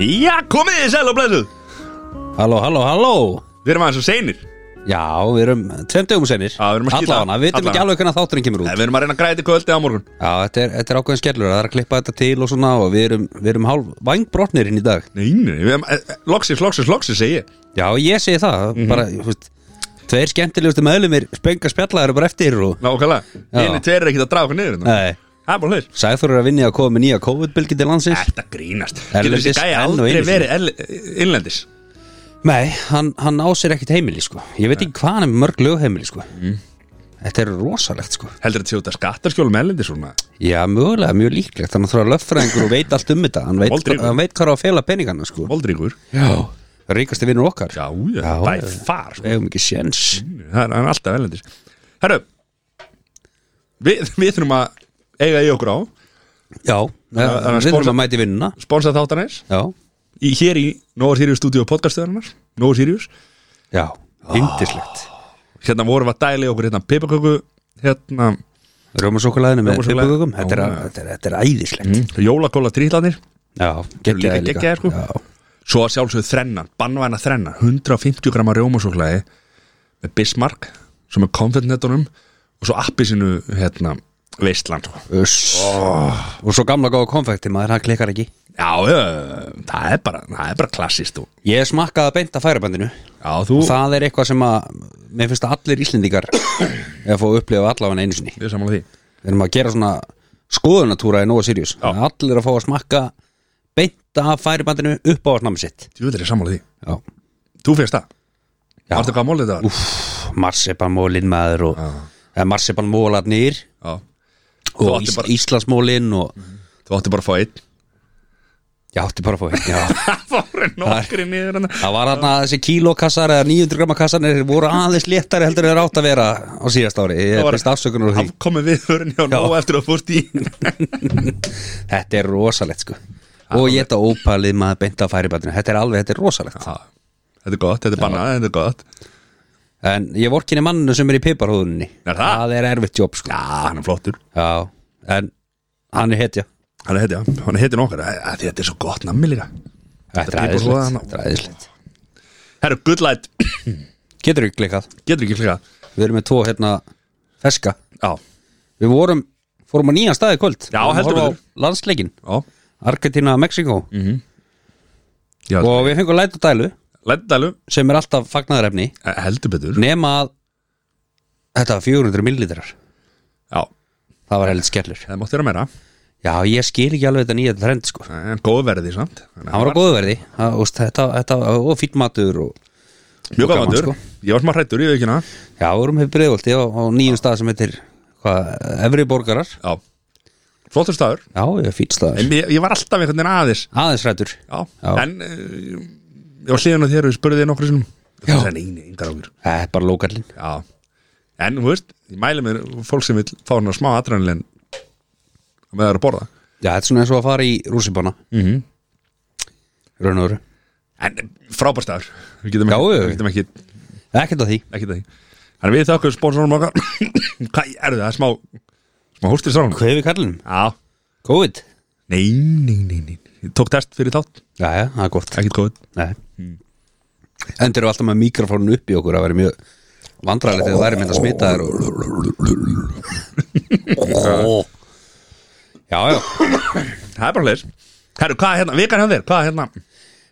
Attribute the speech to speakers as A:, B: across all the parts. A: Já, komið þið sæl og blessuð
B: Halló, halló, halló
A: Við erum aðeins og seinir
B: Já, við erum tveim dögum senir
A: Já, við erum að skýta.
B: Allavega, við veitum
A: Allavega.
B: ekki alveg hvernig þátturinn kemur út
A: Nei, Við erum að reyna að græti kvöldi á morgun
B: Já, þetta er, þetta er ákveðin skellur Það er að klippa þetta til og svona Og við erum, við erum hálf vangbrotnir inn í dag
A: Nei, nei, við erum eh, eh, Loksins, loksins, loksins segi ég
B: Já, ég segi það
A: Mhm.
B: Bara, þú veist Tveir skemmtilegustu meðlumir Spenga spjalla eru bara eftir og
A: Nákvæmlega
B: Já.
A: Hini tveir er ekki að draga okkur niður hérna.
B: Nei
A: Það er bara hlir
B: Sæður er að vinni að koma með nýja COVID-bylgi til landsins
A: Þetta grínast Getur
B: Erlendis
A: þessi gæja
B: enn og
A: aldrei
B: einu sinni.
A: verið erl- innlendis
B: Nei, hann, hann á sér ekkit heimili sko Ég veit ekki hvað hann er með mörg lögheimili sko
A: Mhm.
B: Þetta er rosalegt sko
A: Heldur þetta sé út að skattarskjólum erlendis svona
B: Já, mögulega, mjög líklegt Þannig að það er löffræðingur og veit allt um þetta Hann veit,
A: Voldríkur.
B: hann veit hvað á að fela peningana sko
A: Voldringur
B: Já Ríkasti vinnur okkar
A: Já, já,
B: Já,
A: by
B: já.
A: far sko.
B: Við Eigum ekki séns
A: Það er hann er alltaf erlendis Herru Við, við þurfum að eiga í okkur á
B: Já Við
A: er að
B: þurfum
A: spóla-
B: að mæti vinnuna
A: Sponsa þáttanæs
B: Já
A: í, Hér í Nóður Sirius stúdíu podcastöðarinnar Nóður Sirius
B: Já Indislegt
A: hérna vorum við að dæla í okkur hérna pipaköku hérna
B: Rjómasokkulæðinu með
A: Rjómasokkulæði.
B: pippugögum þetta, er
A: Já,
B: að-
A: já.
B: þetta, er- þetta er æðislegt
A: jólakóla trýtlanir
B: Já
A: eru líka
B: Gekkjaði líka
A: geggjaðir, sko.
B: Já
A: svo að sjálfsögðu þrennan, bannvæna þrennan 150 grama rjómasóklaði með Bismarck sem er konfettnettunum og svo appi sinu hérna veistland sko.
B: Uss Og svo gamla góða konfekti maður, hann klikkar ekki
A: já, já, það er bara það er bara klassist og
B: Ég smakkaði beint að færabandinu
A: já, þú,
B: Það er eitthvað sem að Mér finnst að allir íslendingar Ef að fá að upplifa allavega einu sinni
A: ég er samanlega því
B: við erum að gera svona skoðunatúra í Nóa Sirius Þannig að allir að fá að smakka beint af færibandinu upp á ásnámi sitt
A: þú er samanlega því,
B: já,
A: þú fyrst það
B: Já.
A: varstu hvað mólið þetta var
B: marsipanmólin maður og eða marsipanmólarnir
A: já. Þú
B: og
A: átti
B: ís,
A: bara- Mm.
B: Íslandsmólin og
A: þú átti bara að fá einn
B: ég átti bara að fá einn já.
A: það fóru nokkri niður hérna.
B: það var þarna þessi kílókassar eða 900 gramma kassarnir voru aðeins léttari heldur en þeir átt að vera á síðast ári ég
A: var-
B: finnst afsökunar úr því
A: afkomi viðhörin hjá nóg eftir að fórst í
B: þetta er rosalegt sko og ég þetta ópalið maður beint af færibandinu þetta er alveg, þetta er rosalegt
A: Já, þetta er gott, þetta er bannað, þetta er gott
B: en ég vorkinni manninu sem er í piparhúðunni
A: Er það?
B: er erfitt jobb sko
A: Já, hann er flottur
B: Já, en hann er hetja
A: Hann er hetja, hann er hetja nokkar Þetta er svo gott nammi líka
B: Þetta er
A: piparhúða
B: æðislegt,
A: hann á.
B: þetta er æðislegt
A: Herru, good light,
B: Getur ekki klikkað
A: getur ekki fleika
B: Við erum með tvo hérna feska
A: Já,
B: Við vorum, fórum á nýjan staði kvöld
A: Já,
B: Við vorum að
A: heldur
B: horfa á
A: betur. Mm.
B: Landsleikin,
A: já,
B: Argentina, Mexiko
A: já
B: Og við fengum læt og dælu
A: Lendalum,
B: Sem er alltaf fagnaðarefni
A: e, heldur betur
B: Nema að Þetta var 400 millilitrar
A: Já,
B: Það var heldur skellur
A: það mátti vera meira
B: Já, ég skil ekki alveg þetta nýja trend sko
A: En góð verði samt Þannig
B: Hann var á góðverði Það, úst, þetta, þetta, og fýtt matur og,
A: að- Mjög
B: gaman,
A: gaman, sko. ég var smá hrættur, ég veit ekki hana
B: Já, við vorum hefur breiðolti á, á nýjum stað sem heitir hvað, Efri borgarar
A: Já, flottur staður
B: Já, ég er fýtt staður
A: En ég, ég var alltaf einhvern veginn aðeins
B: Aðeins rættur
A: Já,
B: Já.
A: en eh, Ég var hliðin á þér og ég spurði þér nokkru sinum
B: Já.
A: Það er neini, yngar ákjör
B: Það er bara lókallin
A: Já, en þú veist, ég mæli mér fólk sem vil fá hann að smá aðrænlein með það er að borða
B: Já, þetta er svona eins og að fara í rússipanna mm
A: Mhm.
B: Raun og öru
A: en frábærstæður, við getum
B: Já,
A: ekki,
B: já.
A: við getum ekki,
B: Ekkert að því
A: ekki það Þannig við þakkum sponsorum okkar Hvað er það, smá smá hóstir sá
B: Hvað hefur kallinum?
A: Já,
B: COVID?
A: nei, nei, nei, nei Ég tók test fyrir þátt,
B: Já, já, það er gott
A: ekkert góð
B: Nei Endur eru alltaf með mikrofónu upp í okkur Það væri mjög vandrarlegt þegar það væri mynd að smita þér og... Já, já
A: Það er bara hlæðis Herru, hvað er hérna, vikan hjá þér, hvað er hérna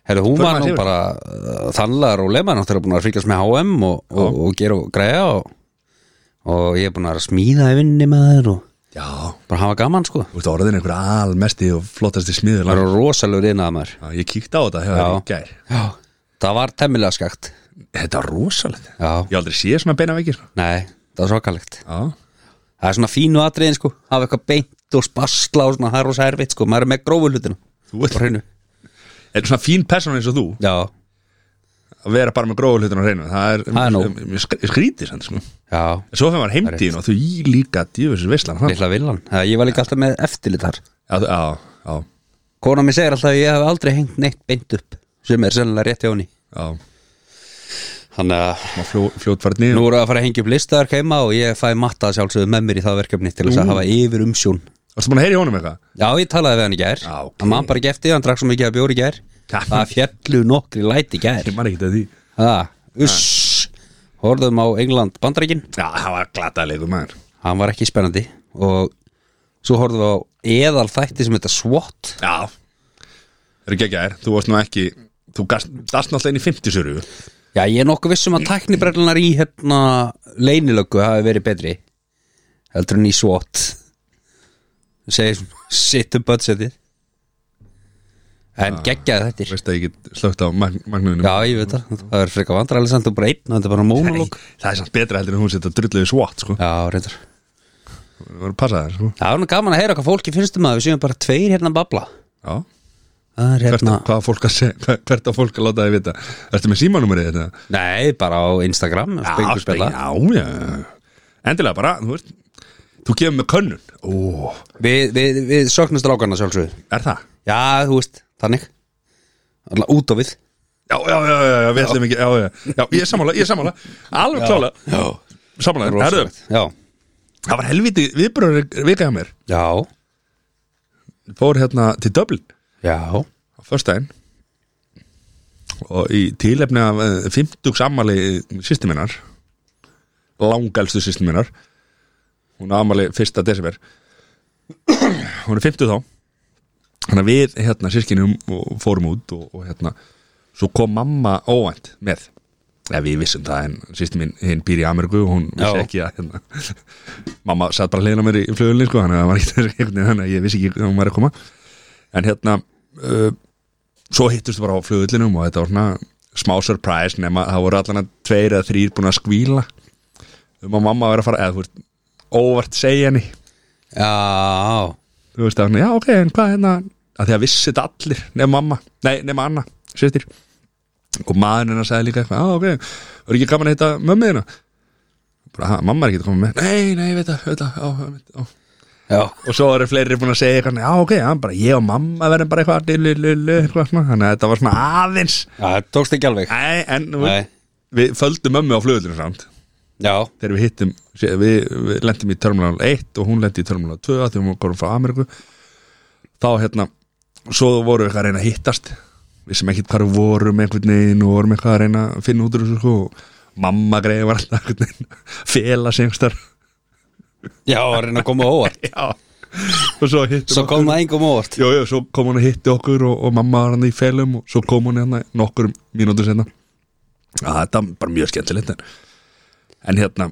B: Herra, hún
A: Förum
B: var
A: aðeins
B: nú
A: yfir.
B: bara uh, þannlegar og leima náttúrulega búin að fríkast með HM og, og, og gera og græja og, og ég er búin að vera að smíða í vinninni með þér og
A: Já,
B: bara hafa gaman sko
A: þú veist orðin einhver almesti og flottasti smiður
B: Það
A: langt.
B: eru rosalur innað maður
A: Já, Ég kíkti á þetta, hefur það
B: Já.
A: í gær
B: Já, það var temmilega skakt
A: Þetta er rosalegt
B: Já,
A: Ég hef aldrei séð svona beina veikir
B: nei, það var svakalegt
A: Já,
B: Það er svona fínu atriðin sko, hafa eitthvað beint og spasla og svona, það er rosa erfitt sko maður er með grófu hlutina
A: Þú ert-
B: Á hreinu.
A: er svona fín persóna eins og þú
B: Já,
A: að vera bara með gróðu hlutin á hreinu það er,
B: Það er nóg.
A: mér sk- skrítir sann sko. en
B: já,
A: svo fyrir maður heimtíðin og þú í líka djöfis veislan hann
B: lilla villan Það, Ég var líka alltaf með eftirlit þar
A: já, þú- já, já,
B: Kona mér segir alltaf að ég hef aldrei hengt neitt beint upp sem er sennilega rétt hjá henni
A: já.
B: Þannig að
A: Má Fljó, fljótfarni
B: Nú voru að fara að hengja upp listaðar heima og ég fæ matta sjálfsögðu með mér í það verkefni til þess að hafa yfir umsjón
A: varstu búin að heyra í honum eitthvað
B: Já, ég talaði við hann í gær
A: Já, ok.
B: Hann man bara ekki eftir, hann drakk svo mikið að bjóri í gær
A: Kjartan.
B: það fjallu nokkri læti gær
A: Ég man ekki að því
B: það, uss horfðum á England bandaríkin
A: Já, það var glataðleikum maður
B: hann var ekki spennandi og svo horfðum við á eðal þætti sem heita SWAT
A: Já Það eru geggjaðir, þú varst nú ekki Þú gast náttúrulega inn í 50 suru
B: já, ég er nokkuð vissum að tæknibrelunar í hérna leynilöggu hafi verið betri heldur en í SWAT segir sitt um budgetið
A: Ah.
B: en geggjaði þetta
A: Veist að ég get slögt á mag magnuðinu
B: Já, ég veit það, það er frekar vandrarlega samt og bara einn, þetta er bara
A: Nei,
B: monolog
A: það er samt betra heldur en hún setja drulluði svott sko.
B: Já, reyndar
A: Það var að passa það sko.
B: Það er nú gaman að heyra hvað fólki finnst um það, við séum bara tveir hérna að babla
A: Já,
B: Það er
A: hvert,
B: hérna,
A: að, hvað á fólk að segja, hvað- hvert á fólk að láta þið vita Ertu með símanúmerið hérna? þetta?
B: nei, bara á Instagram,
A: Já,
B: spengurspilla
A: já, já Endilega bara, þú veist Þú kemur með könnun Ó,
B: Við, við, við söknum strákarna sjálfsögðu
A: er það?
B: Já, þú veist, þannig Alla út á við
A: Já, já, já, já, já, við ætlum ekki Já, já, já, ég er sammála, ég er sammála Alveg klála
B: Já,
A: Sammála, herðu,
B: rosalegt Já,
A: það var helviti viðbröður vika hjá mér
B: já,
A: Fór hérna til Dublin
B: já
A: á föstudaginn og í tílefni af eh, 50 sammali sýstuminnar langelstu sýstuminnar hún á ammali 1. desember hún er 50 þá þannig að við hérna sýskinum og fórum út og, og hérna svo kom mamma óvænt með eða við vissum það en sýstum minn hinn býr í Ameríku og hún vissi
B: Já.
A: ekki að hérna, mamma satt bara hliðina á mér í flugulni sko, þannig að það var ekkert einhvern veginn, þannig að ég vissi ekki að hún var að koma en hérna uh, svo hittustu bara á flugullinum og þetta var svona smá surprise nema það voru allan að tveir eða þrýr búin að skvíla um að mamma vera að fara eða þú veist óvart segja henni
B: Já,
A: þú veist að hún, já ok, en hvað hérna að því að vissi þetta allir, nema mamma nei, nema Anna, sýstir og maðurinn hennar sagði líka eitthvað, já ok var ekki gaman að hitta mömmu þina bara, ha, mamma er ekki að koma með nei, nei, ég veit það, veit það, já, veit það
B: já,
A: og svo eru fleiri búin að segja eitthvað já ok, já, bara ég og mamma verðum bara eitthvað lulululu, eitthvað svona, þannig að þetta var svona aðeins
B: já, það tókst ekki alveg
A: nei, en nú,
B: Nei,
A: við földum mömmu á flugulinu samt
B: já,
A: þegar við hittum við, við lendum í Terminal 1 og hún lendi í Terminal 2 af því hún komum frá Ameríku þá hérna svo voru við eitthvað að reyna að hittast við sem ekkert hvað við vorum einhvern veginn og vorum eitthvað að reyna að finna út úr þessu sko og mamma greiði var alltaf einhvern veginn að fela sig einhverstar
B: já, að reyna að koma á óvart
A: já og svo hittum
B: Svo kom það engum á óvart
A: Jú, jú, svo kom hún að hitti okkur og, og mamma var hann í felum og svo kom hún hérna nokkur mínútur senna að þetta var bara mjög skemmtilegt en, en hérna,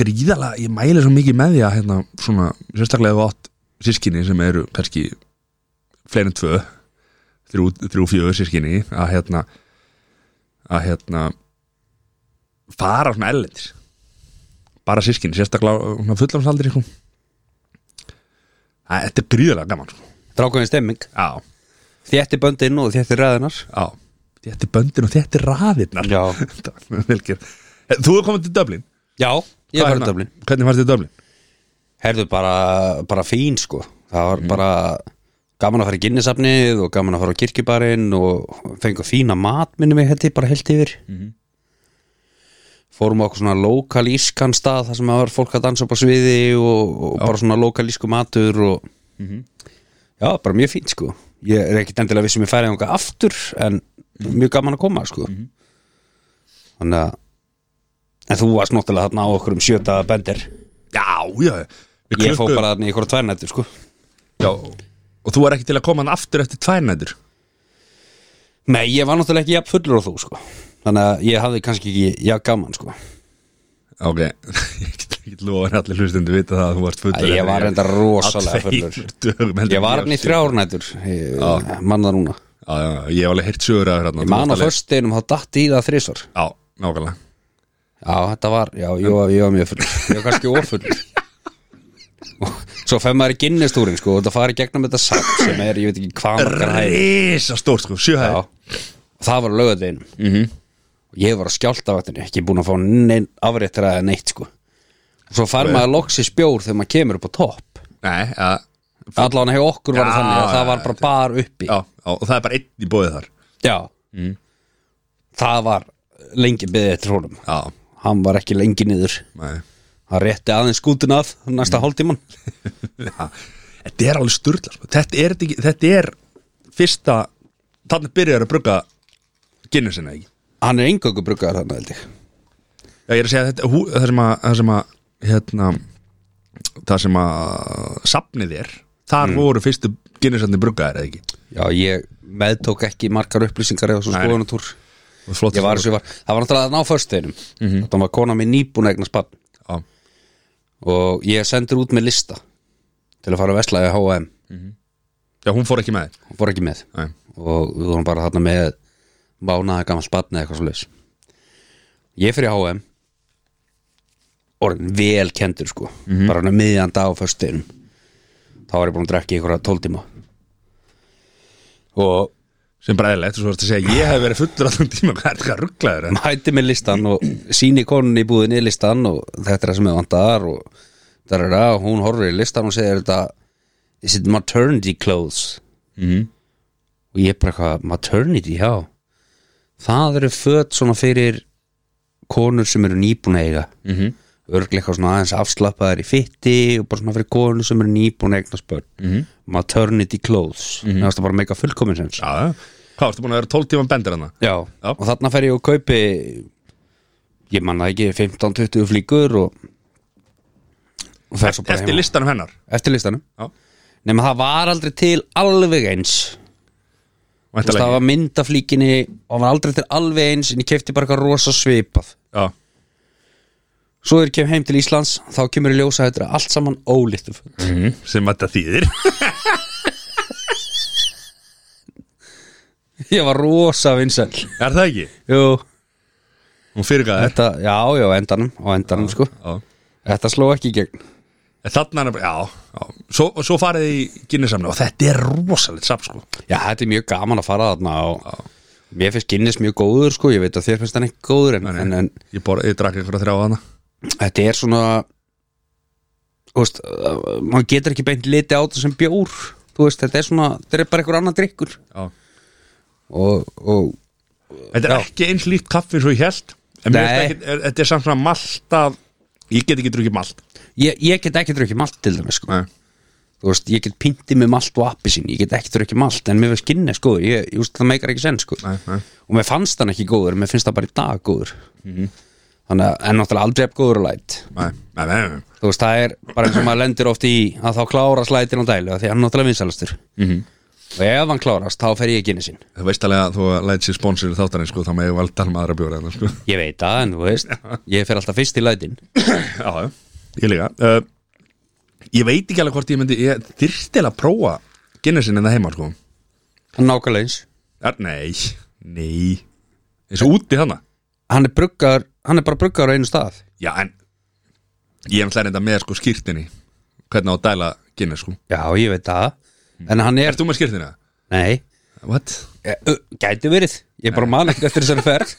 A: gríðalega ég mæli svo mikið með því að hérna svona, sérstaklega ef þú átt sískinni sem eru kannski fleiri en tvö þrjú, þrjú fjögur sískinni að hérna að hérna fara svona ellendis bara sískinni, sérstaklega svona fullansaldri sko. Æ, þetta er gríðalega gaman sko.
B: Drákaðin stemming
A: Já,
B: Þétti böndin og þétti ræðinar
A: já Þetta er böndin og þetta er raðirnar
B: Já,
A: Þetta var velgerð. Þú er komin til Dublin
B: já,
A: Hvað
B: ég var
A: hérna?
B: í Dublin
A: Hvernig fannst þið Dublin?
B: Herðu bara, bara fín sko Það var bara gaman að fara í ginnisafnið og gaman að fara á kirkjubarinn og fengu fína mat minni mig held ég bara heilt yfir Fórum á okkur svona lokal ískan stað þar sem það var fólk að dansa upp á sviði og, og bara svona lokal ísku matur og Já, bara mjög fínt sko Ég er ekkit endilega vissum ég færi þangað aftur en mjög gaman að koma sko Þannig að En þú varst náttúrulega þarna á okkur um sjöta bendir
A: Já, já við
B: Ég fó
A: klukkuðum-
B: bara þarna í ykkur tværnættur sko
A: Já, og þú er ekki til að koma hann aftur eftir tvær nætur
B: Nei, ég var náttúrulega ekki jafn fullur á þú sko Þannig að ég hafði kannski ekki jafn gaman sko
A: Ok, ég get ekki lofa en allir hlustendur vita það að þú varst fullur hérna.
B: Æ, ég var reyndar rosalega fullur. Ég var hann í þrjárnættur Mann það núna
A: Já, já, já, ég hef alveg heyrt sögur að hérna
B: Ég man á föstinum, þá datt í það þrisvar
A: Já, nákvæmlega
B: Já, þetta var, já, ég var, ég var mjög fullur Ég var kannski ofullur Svo fem maður í ginnistúrin sko og Þetta fari gegnum þetta samt sem er, ég veit ekki hvað margar hæði
A: Risa stórt sko, sjöhæð
B: Já, Og það var lögadegin mm
A: Mhm.
B: -hmm. Ég var að skjálta vatninu, ekki búin að fá neinn afréttra eða neitt sko Svo fær maður loksis bjór þegar maður kemur upp á topp
A: Nei, já,
B: allan hefur okkur var
A: Já,
B: það þannig að
A: já,
B: það var bara bar uppi
A: já, Mhm. já, og það er bara einn í bóðið þar
B: Já. það var lengi beðið eftir honum
A: Já,
B: hann var ekki lengi niður
A: nei
B: hann rétti aðeins skútin að
A: Mhm.
B: næsta mm. hálftíman
A: Já, þetta er alveg sturla sko. þetta, er, þetta ekki- þetta er fyrsta þannig byrjar að brugga ginnu sinna ekki
B: Hann er engöngu bruggaður þarna held ég
A: Já, ég er að segja þetta, hú, það sem að, það sem að hérna, það sem að safnið er, þar
B: Mm.
A: voru fyrstu ginnisarnir bruggaðir eða ekki
B: Já, ég meðtók ekki margar upplýsingar eða svo
A: Nei, nei.
B: skoðunatúr
A: Og flott
B: Ég var þessu var, það var náttúrulega að ná föstuðinum mm -hmm. Þannig var kona mér nýbúin að eignast bann
A: Já,
B: og ég sendur út með lista til að fara að vesla í H&M
A: já hún fór ekki með þér
B: hún fór ekki með
A: Nei.
B: og við vorum bara þarna með mánaða gammal spann eða eitthvað svo leis ég fyrir H&M orðin vel kendur sko bara hann að miðjan dag á föstinum þá var ég búin að drekka í einhverja tóltíma og
A: sem bræðilegt og svo varst að segja ég hef verið fullur allan tíma, hvað er þetta rugglaður en
B: mæti með listan og síni konun í búðinni listan og þetta er það sem ég vantar og það er það og hún horfir í listan og segir þetta is it maternity clothes
A: Mhm.
B: og ég er bara eitthvað maternity, já það eru föt svona fyrir konur sem eru nýbúin að eiga mm -hmm. eitthvað svona aðeins afslappaðar í fitti og bara svona fyrir konur sem eru nýbúin að eignast börn mm -hmm. maternity clothes mm -hmm. það er bara mega fullkomin sens
A: Já, já. hvað varstu búin að vera 12 tíma bendir hann
B: Já,
A: Já.
B: og þarna fer ég og kaupi ég manna ekki 15-20 flíkur og, og fer svo bara
A: eftir
B: heim
A: listanum hennar
B: eftir listanum
A: Já.
B: nema það var aldrei til alveg eins Þú veist, það
A: Væntanlega
B: var mynd af flíkinni og það var aldrei til alveg eins en ég kefti bara eitthvað rosa svipað
A: ekki. Já.
B: svo er ég kem heim til Íslands þá kemur ég ljósa þetta er allt saman ólíktu föt.
A: sem þetta þýðir
B: ég var rosa vinsæl
A: er það ekki?
B: Jú,
A: Hún fyrirgaði
B: þetta, já, já, á endanum á endanum sko,
A: þér
B: þetta sló ekki í gegn
A: Þannig er bara, já, já. Svo, og svo farið þið í ginnisamni og þetta er rosalegt safn sko
B: Já, þetta er mjög gaman að fara þarna og mér finnst Guinness mjög góður sko, ég veit að þér finnst hann ekki góður en, en, en
A: Ég, bor, ég drakk einhverja þrjá hana
B: þetta er svona þú veist, uh, maður getur ekki beint liti á þetta sem bjór þú veist, þetta er svona, þetta er bara einhver annar drikkur
A: já.
B: og, og
A: Þetta er ekki eins líkt kaffi eins og ég held En mér
B: Nei.
A: finnst ekki, er, þetta er samt svona malt af Ég get ekki drukkið malt
B: ég, ég get ekki drukkið malt til dæmis sko.
A: Nei.
B: þú veist, ég get pintið með malt og appi sín, ég get ekki drukkið malt en mér finnst Guinness góður, ég, ég veist, það meikar ekki senn sko.
A: Nei, nei.
B: og mér fannst hann ekki góður, mér finnst það bara í dag góður þannig að, en náttúrulega aldrei jafn góður og læt
A: Nei, nei, nei, nei.
B: þú veist, það er bara eins og maður lendir oft í að þá klára slætin á dælu af því að hann er náttúrulega vinsælastur
A: Mhm.
B: -hmm. og ef hann klárast, þá fer ég ekki inn í sinn
A: Þú veist alveg að þú læt sér sponsor í þáttarinn sko, þá með ég valda hann maður að bjóra þetta sko.
B: ég veit það, en þú veist, ég fer alltaf fyrst í lætin
A: Já, já, ég líka uh, Ég veit ekki alveg hvort ég myndi ég þyrftil að prófa Guinnessin en það heima sko
B: hann er nákvæmlega eins,
A: er, Nei, nei eins og úti hana
B: hann er bruggar hann er bara bruggar á einu stað
A: Já, en ég er hlærinda með sko skýrtinni hvernig á að dæla Guinness sko
B: já, ég veit það,
A: Mm.
B: en hann er
A: Ert þú með skýrtina?
B: nei,
A: What?
B: Eh, ö, gæti verið ég bara man ekki eftir þessari ferð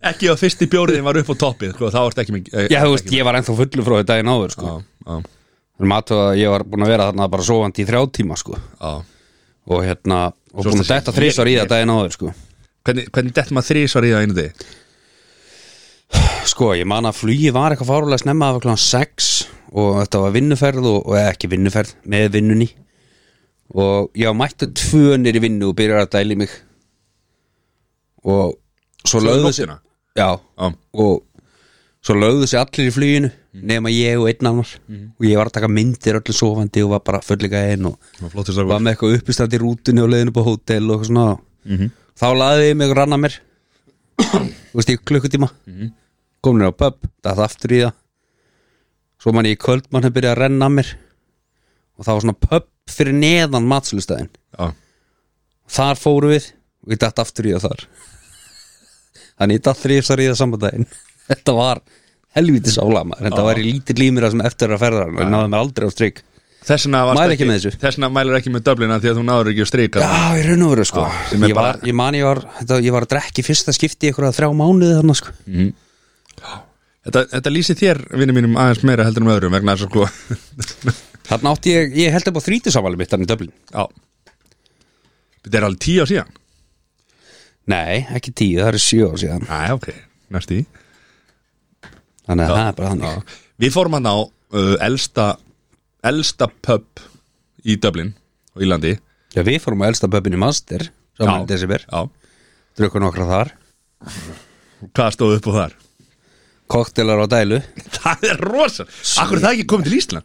A: Ekki að fyrsti bjóriðin var upp á toppið sko, þá ertu ekki með eh,
B: já, þú veist, ég var ennþá fullu frá því daginn áður sko.
A: Já, já,
B: þannig að ég var búin að vera þarna bara sofandi í þrjá tíma sko.
A: já
B: og hérna, og
A: Svo
B: búin að
A: ertu að
B: detta
A: segja,
B: þrísvar í
A: ég-
B: það daginn áður sko.
A: Hvernig, hvernig dettum maður þrísvar í það einu degi?
B: Sko, ég man að flugi var eitthvað fárulega snemma af klokkan 6 og þetta var vinnuferð og, og eða ekki vinnuferð með vinnunni og ég mætti tvönir í vinnu og byrjar að dæli mig og svo
A: um
B: lögðu sér
A: nóttina?
B: Já,
A: Já.
B: og svo lögðu sér allir í fluginu nema ég og einn annar og ég var að taka myndir öllu sofandi og var bara fullega einn og
A: Það var flottur strákur.
B: var með eitthvað uppistand í rútunni og leiðin upp á hótel og eitthvað svona þá laði ég mig og rann að mér þú veist, í klukkutíma mm -hmm. komin á pub, það aftur í það svo man ég í kvöld mann hef byrjað að renna að mér og það var svona pub fyrir neðan matslustæðin
A: Já,
B: þar fóru við og ég dætt aftur í það þar þannig ég dætt þrýsar í það samandaginn þetta var helvítis álama þetta var í lítið límira sem eftir að ferða og náði mér aldrei á strik
A: Þess vegna varstu
B: Mæla ekki með þessu.
A: Þess vegna mælur ekki með döblina því að þú náður ekki að streika
B: Já, í raun og veru sko
A: sem er
B: ég, var,
A: bara-
B: ég man ég var, þetta, ég var að drekki fyrsta skipti í eitthvað þrjá mánuði þarna sko
A: þetta, þetta lýsi þér, vinnum mínum, aðeins meira heldur um öðrum vegna þess að sko
B: Þarna átti ég, ég held upp á þrítusamali mitt þarna í Dublin
A: Já Þetta er alveg tíu á síðan
B: Nei, ekki tíu, það eru sjö ár síðan
A: Næ, ok, næst í
B: Þannig að það er bara þannig
A: Já. Við fórum hann á uh, elsta, elsta pub í Dublin og Írlandi
B: Já, við fórum á elsta pöppin í Master saman í December,
A: já.
B: drukkum nokkra þar
A: Hvað stóð upp á þar?
B: koktelar á dælu
A: Það er rosa Akkur er það ekki komið til Ísland?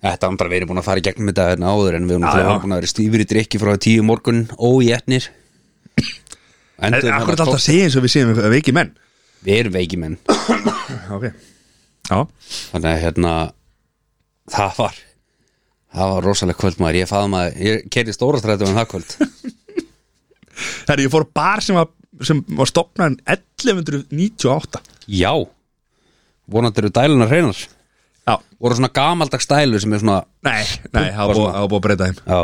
B: Þetta var bara verið búin að fara í gegnum þetta hérna áður en við erum
A: Já,
B: náttúrulega
A: já.
B: búin að vera stífur í drikki frá tíu morgun ójætnir
A: En
B: Endur
A: akkur er alltaf að segja eins og við séum við ekki menn
B: Við erum veikimenn
A: Ok Já,
B: Þannig að hérna það var það var rosalega kvöld maður ég faðum að ég kerði stóra strætum en það kvöld
A: Herri, ég fór á bar sem var, sem var stopnað 1198
B: Já vonandi eru dælunar hreinar
A: Já,
B: voru svona gamaldags dælu sem er svona
A: nei, nei, það var búið- það var búið að breyta þeim
B: já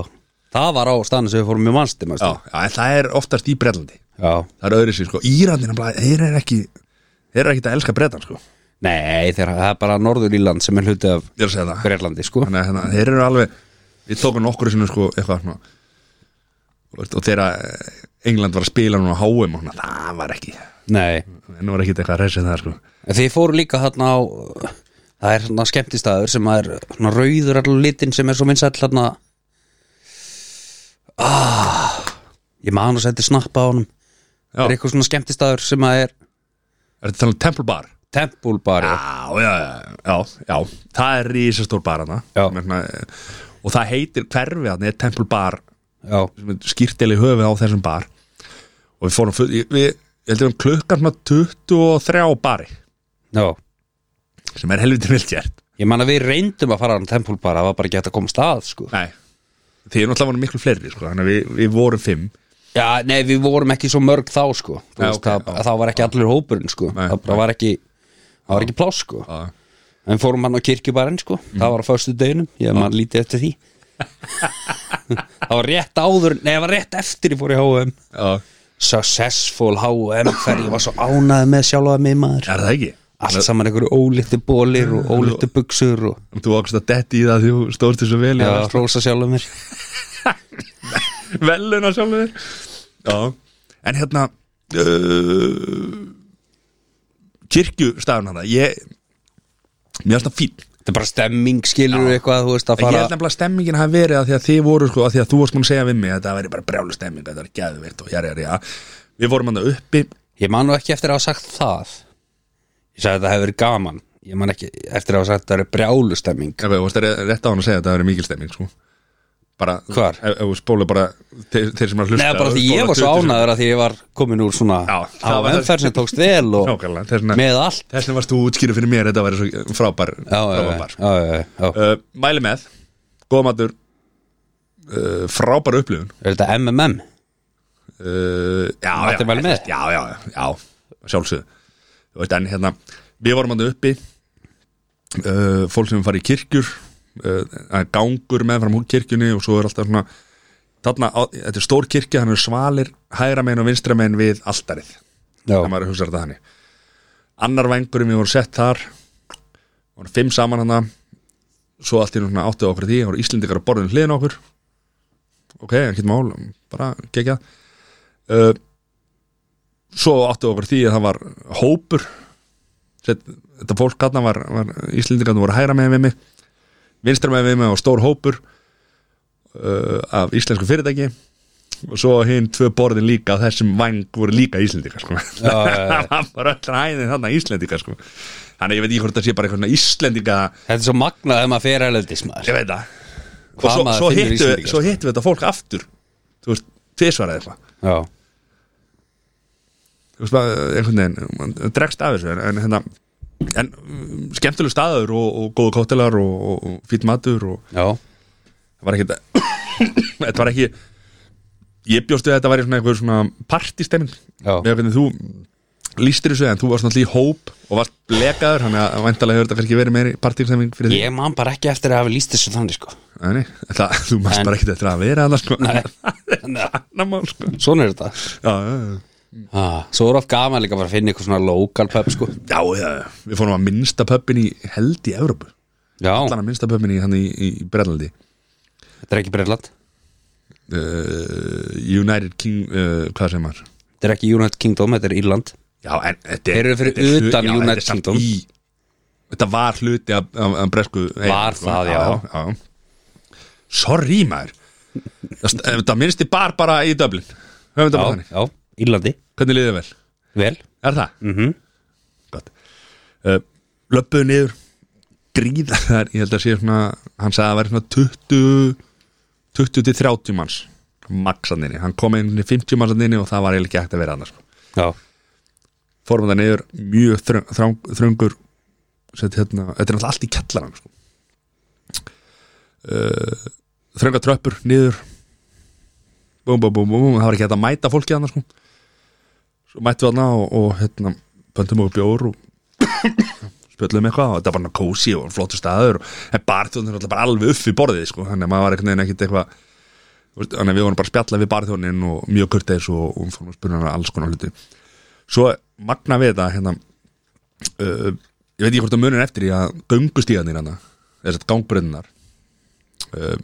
B: það var á staðan sem við fórum í mannstu
A: Já, já, en það er oftast í Bretlandi
B: já
A: Það er öðru sér, sko Írandina, þeir eru ekki Þeir eru ekki að elska Bretan, sko Ég
B: Nei þegar það er bara Norður Íland sem er hluti af
A: er að segja það
B: Grelandi sko
A: Þannig að hérna, þeir eru alveg Við tókum nokkru sinni, sko, eitthvað svona Þú veist, Og þeirra England var að spila núna á HM og svona Það var ekki
B: Nei
A: En nú var ekki eitthvað að reysa það, sko
B: En Þið fóru líka þarna á það er svona skemmtistæður sem er svona rauður allir litin sem er svo vinsæll þarna ah, ég man að setja snappa á honum
A: Já.
B: það er eitthvað svona skemmtistæður sem að er
A: Er þetta þannig um Temple Bar?
B: tempulbari
A: Já, já, já, já, já Það er risastór bar hana
B: Já.
A: Menna, eh, Og það heitir hverfi hana er Temple Bar
B: Já,
A: skýrteli höfuð á þessum bar og við fórum full, ég- við, ég heldur um klukkan svona 23 bari
B: já
A: sem er helviti vilt gert
B: Ég man að við reyndum að fara á tempulbari það var bara ekki hægt að koma stað sko
A: Nei Því er náttúrulega voru miklu fleiri sko, þannig að við, við vorum fimm
B: Já, nei, við vorum ekki svo mörg þá sko Þú
A: Já,
B: veist,
A: ok,
B: það, það var ekki allir hópurinn sko
A: Nei,
B: það bara var ekki það var ekki pláss sko
A: Já. Mhm.
B: en fórum hann á kirkjubarinn sko það var á föstu deginum, ég hef maður lítið eftir því það var rétt áður nei, það var rétt eftir ég fór í H&M
A: Já.
B: successful H&M ferð ég var svo ánæði með sjálfaði mig maður
A: Er það ekki?
B: allt saman einhverju ólíti bólir og ólíti buksur og
A: Þú ákast að detti í það því þú stóðst þessu vel
B: já, rosa sjálfaði mér
A: veluna sjálfur Já, en hérna uh, kirkjustafn hana ég mér finnst það fín
B: þetta er bara stemming, skilur eitthvað þú veist að
A: En Ég
B: fara
A: held nefnilega að stemmingin hafi verið að því að þið voru sko, að því að þú varst múin að segja við mig að það væri bara brjálu stemming, þetta var geðvirt og jæri, jæri, já Við vorum hann uppi,
B: Ég man nú ekki eftir að hafa sagt það Ég sagði að það hefur verið gaman Ég man ekki eftir að hafa sagt að það er brjálustemming
A: ef þú varst að rétt á hann að segja að það væri mikil stemming sko Bara,
B: Hvar?
A: Ef ef þú spólu bara þeir, þeir sem er að
B: Nei,
A: hlusta
B: bara því ég var svo ánæður að því ég var komin úr svona
A: Já,
B: á
A: það var-
B: umferð sem tókst vel og
A: Nákvæmlega, þess vegna-
B: með allt
A: Þess vegna varst þú útskýrið fyrir mér, þetta væri svo frábær
B: Já, já,
A: frábær
B: já,
A: bar, sko.
B: já, já, já.
A: uh, Mæli með, góða matur uh, Frábær upplifun
B: Er þetta MMM?
A: uh, já,
B: Mætti
A: já,
B: vel með?
A: já, já, já, sjálfsögðu Þú veist, en hérna, við vorum hann uppi uh, fólk sem fari í kirkjur uh, það er gangur meðfram hún kirkjunni og svo er alltaf svona þarna, á, þetta er stór kirkja, hann er svalir hægra megin og vinstra megin við alltarið
B: Já,
A: það maður hugsar þetta þannig annar vengurinn við vorum sett þar voru fimm saman hann svo allt í einu svona áttuð okkur á því voru Íslendingar að borðin hliðin á okkur ok, ekki mál, bara gegja uh, svo áttuð okkur á því að það var hópur Sett, þetta fólk hann var, var Íslendingarnir voru hægra með við mig vinstra með við mig og stór hópur uh, af íslensku fyrirtæki og svo hinn tvö borðin líka þessum vang voru líka Íslendingar sko.
B: Já, já, já.
A: það var öll ræðin þarna Íslendingar sko. þannig að ég veit ekki hvort það sé bara eitthvað svona Íslendinga
B: þetta er svo magnað þegar maður fer erlendis maður
A: ég veit það og
B: Hvað
A: svo,
B: maður
A: svo,
B: finnur
A: hittu,
B: Íslendinga, sko?
A: svo hittu við þetta fólk aftur þú veist, tvisvarað eitthvað
B: Já,
A: þú veist maður, einhvern veginn, maður dregst af þessu en, en, hérna, en mm, skemmtileg staður og, og góðu kóttelar og, og, og fýtt matur og
B: já,
A: það var ekki þetta var ekki ég bjóst við að þetta væri svona einhver svona partistemming
B: Já.
A: með hvernig þú lístir þessu en þú varst náttúrulega í hóp og varst blekaður, þannig að væntalega hefur þetta kannski verið meiri partistemming fyrir því
B: ég man bara ekki eftir að hafa líst þessu þannig sko
A: Nei, nei, það, þú mást
B: En-
A: bara ekkert eftir að vera annars sko.
B: Nei.
A: Namál, sko.
B: Svona er þetta
A: já, já, já.
B: ah, Svo er oft gaman líka bara að finna eitthvað svona local pub sko
A: já, já, já. við fórum að minnsta pöppin í held í Evrópu
B: Já,
A: allan að minnsta pöppin í, hann í, í Brelandi
B: þetta er ekki Breitland
A: uh, United King uh, hvað sem var
B: Þetta er ekki United Kingdom, þetta er Írland
A: já, en, þetta
B: Þeir eru fyrir
A: þetta er hlu-
B: utan
A: já,
B: United
A: þetta er samt
B: Kingdom.
A: í, þetta var hluti af, af, af bresku
B: Var það, já.
A: já, já. sorry maður Það st- eh, það minnst í bar bara í Dublin höfum þetta bara
B: já,
A: þannig,
B: já, Írlandi,
A: hvernig liðið vel
B: vel
A: er það?
B: mm -hmm.
A: gott uh, löppuðu niður gríða þar, ég held að sé svona hann sagði að það væri svona 20 20 til 30 manns maksaninni, hann kom inn í 50 mannsaninni og það var eiginlega ekki hægt að vera sko. annars
B: Já,
A: fórum það niður, mjög þröng, þröng, þröngur set, hérna, þetta er náttúrulega allt í kjallaran sko. uh, þrönga tröppur niður búm, búm, búm, búm, það var ekki hægt að mæta fólki annars sko. svo mættum við þarna og, og hérna, pöntum okkur bjór og spjöllum eitthvað og þetta var bara kósi og flottur staður og, en barþjóðin er alltaf bara alveg upp í borðið sko, þannig að maður var einhvern veginn ekkit eitthvað þú veist, þannig að við vorum bara að spjalla við barþjóðin og mjög kurteis og, og fórum að spurna hana alls konar hluti svo magna við þetta hérna, uh, ég veit ekki hvort það munir eftir í að göngustíðanir hérna þess að gangbrunnar uh,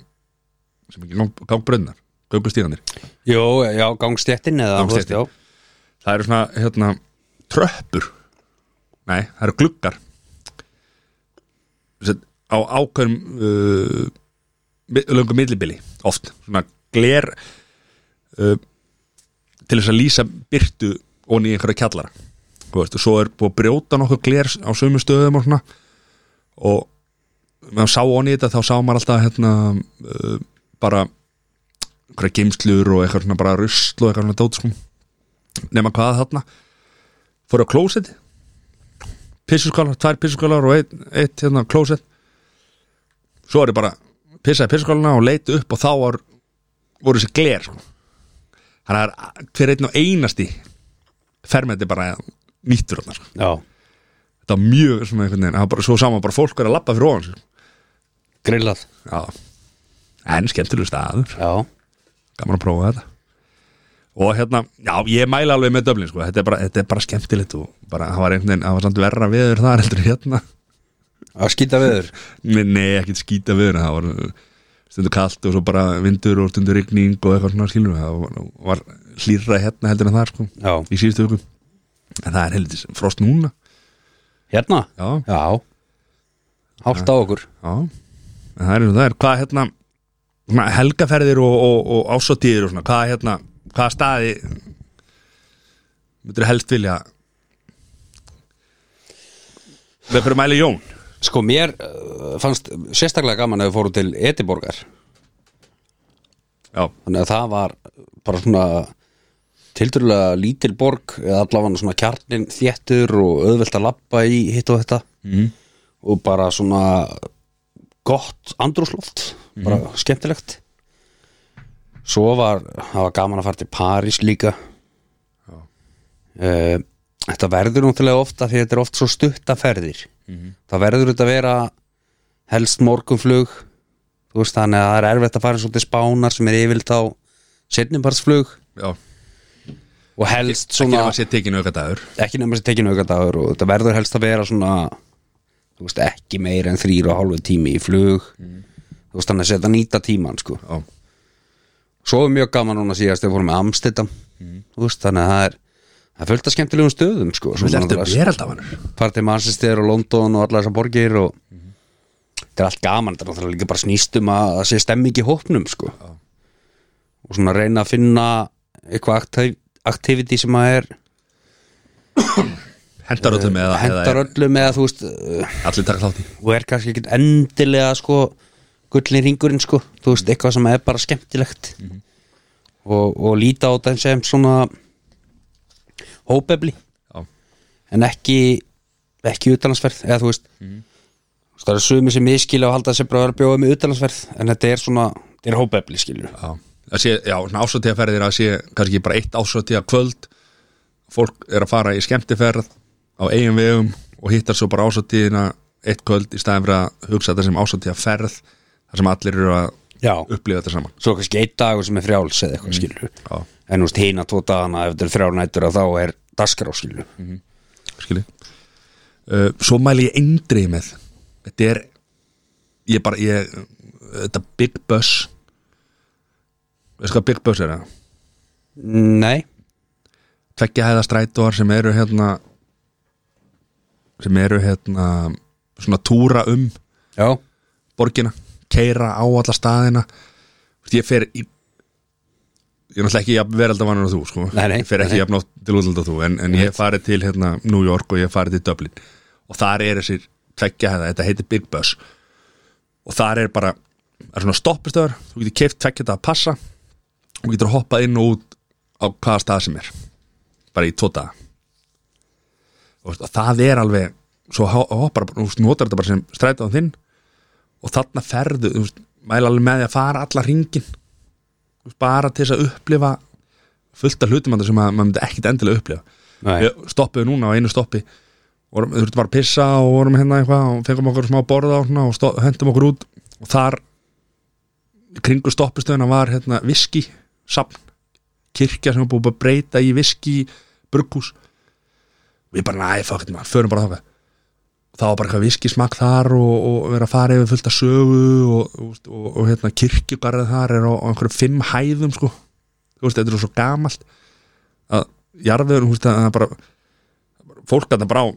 A: sem ekki gang, gangbrunnar göngustíðanir,
B: Jó, já, gangstéttin eða
A: Gangstéttin.
B: þú veist,
A: það eru svona hérna, tröppur nei, það eru gluggar þess að á ákveðum uh, mi- löngu millibili oft, svona gler uh, til þess að lýsa byrtu og í einhverja kjallara Þú veist, og svo er búið að brjóta nokkuð gler á sömu stöðum og svona og meðan sá onni þetta þá sá maður alltaf hérna uh, bara einhverja geimslur og eitthvað svona bara rusl og eitthvað svona dót sko nema hvað þarna fóru á klósett pissuskálar, tvær pissuskálar og eitt, eitt hérna klósett svo er ég bara pissaði pissuskálana og leiti upp og þá var, voru þessi gler sko. þannig að það er hver einn og einasti fermendi bara nýttur þarna sko
B: já, já
A: þetta var mjög svona einhvern veginn það var bara, svo saman bara fólk er að labba fyrir ofan sig.
B: Grillað,
A: já, en skemmtileg staður
B: já
A: gaman að prófa þetta og hérna, já, ég mæla alveg með döflin sko. þetta, er bara, þetta er bara skemmtilegt og bara, það var einhvern veginn, það var samt verra veður þar heldur en hérna,
B: Að skýta veður
A: nei, nei ekkert skýta veður það var uh, stundu kalt og svo bara vindur og stundu rigning og eitthvað svona skilur það var, var hlýrra hérna heldur en þar sko,
B: Já,
A: í síðustu viku en það er heldur frost núna
B: hérna,
A: já,
B: já Hátt á okkur
A: Já, en það er eins og það er Hvað hérna, svona, helgaferðir og, og, og ásatíðir og svona Hvað hérna, hvaða staði myndir helst vilja Við fyrir að mæla Jón
B: Sko, mér uh, fannst sérstaklega gaman að við fórum til Ediborgar
A: Já,
B: Þannig að það var bara svona tildurlega lítil borg eða allavega svona kjarnin þéttur og auðvelt að labba í hitt og þetta
A: mm.
B: og bara svona gott andrúsloft bara
A: Mhm.
B: skemmtilegt svo var, það var gaman að fara til París líka Eh, þetta verður náttúrulega ofta því þetta er oft svo stutta ferðir
A: Mhm.
B: það verður þetta að vera helst morgunflug þú veist þannig að það er erfitt að fara svolítið spánar sem er yfirlt á setnimparsflug
A: já
B: og helst
A: Ekki
B: svona
A: nema sér tekinu auka dagur
B: ekki nefnir sér tekinu auka dagur og þetta verður helst að vera svona þú veist ekki meir en þrýr og hálfu tími í flug þú veist þannig að setja nýta tíman sko.
A: Já,
B: svo er mjög gaman núna síðast þegar við fórum með Amstidam þú veist þannig að það er það er fullt að skemmtilegum stöðum sko, Svo
A: við
B: svona
A: lertum
B: náttúrulega
A: veraldafanur
B: fara til Manchester og London og allar þessar borgir og þetta er allt gaman, þetta er náttúrulega líka bara snýstum að það sé stemming í hópnum sko. og svona reyna að finna eitthvað aktiv activity sem að er
A: Hendar öllum eða,
B: hendar
A: eða
B: öllum eða þú veist uh,
A: allir taka þátt í
B: og er kannski ekkert endilega sko gullin ringurinn sko þú veist eitthvað sem er bara skemmtilegt og, og líta á þetta sem svona hópefli
A: Já,
B: en ekki ekki utalansverð eða þú veist Þú veist, það eru sumi sem miskilja og halda að sem bara vera að bjóða með utalansverð en þetta er svona, þetta er hópefli skilur
A: já Það sé, já, svona ásatíðaferðir að sé kannski bara eitt ásatíða kvöld fólk er að fara í skemmtiferð á eigin vegum og hittar svo bara ásatíðina eitt kvöld í staðin fyrir að hugsa þetta sem ásatíðaferð þar sem allir eru að
B: já,
A: upplifa þetta saman
B: svo kannski einn dagur sem er frjáls eða eitthvað mm. skilur
A: Já,
B: en þú veist hina tvo dagana ef þetta er frjár nætur að þá er dasgrá skilur
A: skilji uh, Svo mæli ég eindrið með Þetta er ég bara, ég, uh, þetta Big Bus Veist hvað Big Bus er það?
B: nei,
A: tveggja hæða strætóar sem eru hérna sem eru hérna svona túra um
B: já
A: borgina, keira á alla staðina ég fer í ég er náttúrulega ekki jafn veraldavannur að þú sko.
B: Nei, nei,
A: ég fer ekki
B: nei.
A: jafn átt til útlanda þú en, en ég farið til hérna, New York og ég farið til Dublin og þar er þessir tveggja hefða, þetta heitir Big Bus og þar er bara það er svona stoppistöður, þú getur keift tveggja þetta að passa og getur hoppað inn og út á hvaða stað sem er bara í tóta og, og það er alveg svo ho- hoppar, þú veist, notar þetta bara sem strætaðan þinn og þarna ferðu þú veist, mæla alveg með því að fara alla ringin bara til þess að upplifa fullt af hlutum þarna sem að maður myndi ekkit endilega upplifa
B: Nei.
A: við stoppuðu núna á einu stoppi og þú bara að pissa og vorum hérna eitthvað og fengum okkur smá borða og, svona, og stó, hendum okkur út og þar í kringu stoppistöðuna var hérna viski, sapn kirkja sem var búið að breyta í viski brugghús við bara, næ, fuck it, man, förum bara þáka þá var bara eitthvað viski smakk þar og, og vera að fara yfir fullt að sögu og, og, og, og hérna kirkjugarðið þar er á, á einhverjum fimm hæðum sko, þú veist, þetta er svo gamalt að jarðveður, þú veist, að það er bara fólk að það bara á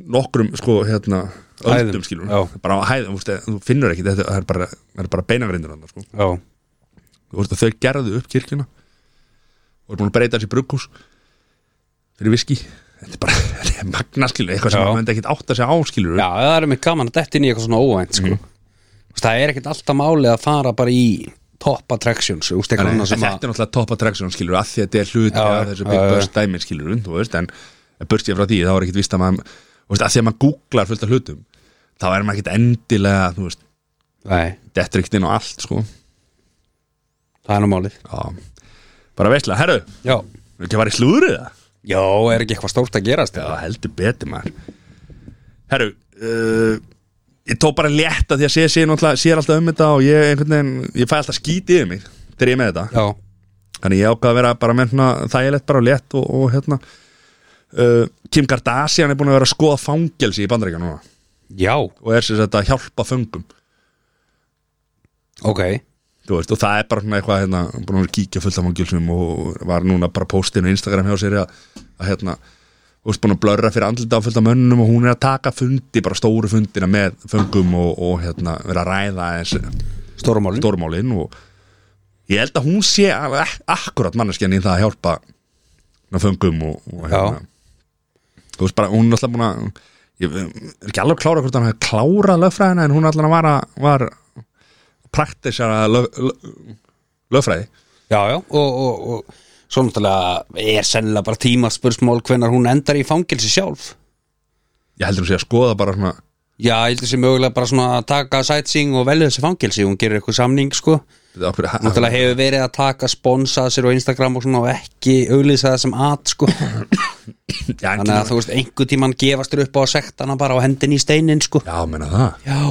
A: nokkrum, sko, hérna
B: Hæðum,
A: öldum, skilur,
B: já.
A: bara á hæðum, þú veist, þú finnur ekki, þetta það er bara, það er bara beinagrindur hann, sko
B: já,
A: þú veist að þau gerðu upp kirkjuna og er búin að breyta þessi brugghús fyrir viski þetta er bara, þetta er magnaskilur eitthvað sem
B: Já.
A: maður myndi ekkit átt að segja áskilur
B: já, það er mér gaman að detti inn í eitthvað svona óvænt sko. Þú veist, það er ekkert alltaf máli að fara bara í top attractions úst,
A: en,
B: eitthvað
A: en
B: annað sem
A: þetta er
B: að
A: náttúrulega top attraction skilur að því að þetta er hluti
B: Já,
A: af þessu big
B: já,
A: burst dæmi skilur þú veist, en en burst ég frá því þá er ekkit vist að maður þú veist, að því að maður googlar fullt af hlutum þá er maður ekkit endilega þú veist,
B: nei,
A: dettur ekkit inn á allt sko
B: það er nú málið
A: já. bara veistlega, herru,
B: já,
A: við ekki að fara í slúðrið það
B: já, er ekki eitthvað stórt að gerast
A: Já,
B: eða?
A: heldur betur maður Herru uh, Ég tók bara létt að því að sé, sé, náttúrulega- sér alltaf um þetta og ég einhvern veginn ég fæ alltaf skítið yfir mig þegar ég er með þetta
B: já,
A: Þannig ég ákvað að vera bara með svona þægilegt bara og létt og, og hérna uh, Kim Kardashian er búin að vera að skoða fangelsi í bandaríkja núna
B: já,
A: og er sem sagt að hjálpa föngum
B: ok
A: þú veist, og það er bara svona eitthvað hérna, búin að vera að kíkja fullt af fangilsum og var núna bara postinu Instagram hjá sér að, að hérna, þú veist, búin að blörra fyrir andlita á fullt af mönnum og hún er að taka fundi, bara stóru fundina með föngum og, og hérna, vera að ræða aðeins
B: stóra málin
A: Mm. stórmálin og ég held að hún sé alveg ak- akkurat manneskjan í það að hjálpa svona föngum og, og hérna, þú veist bara, hún er alltaf búin að ég er ekki alveg klára hvort hann hefði klárað lögfræðina en hún allan var, að- var praktisjara lög, lög, lögfræði
B: já, já, og, og, og svo náttúrulega er sennilega bara tímaspursmál hvenar hún endar í fangelsi sjálf
A: ég heldur hún sé að skoða bara svona
B: já, ég heldur sem mögulega bara svona að taka sightseeing og velja þessi fangelsi, hún gerir eitthvað samning sko
A: þetta okkur,
B: Náttúrulega hefur verið að taka sponsa sér á Instagram og svona og ekki auglýsa það sem at sko Þannig
A: já, en,
B: að þú veist, einhver tíman gefast þér upp á sektana bara á hendin í steinin sko
A: já, menna það
B: Já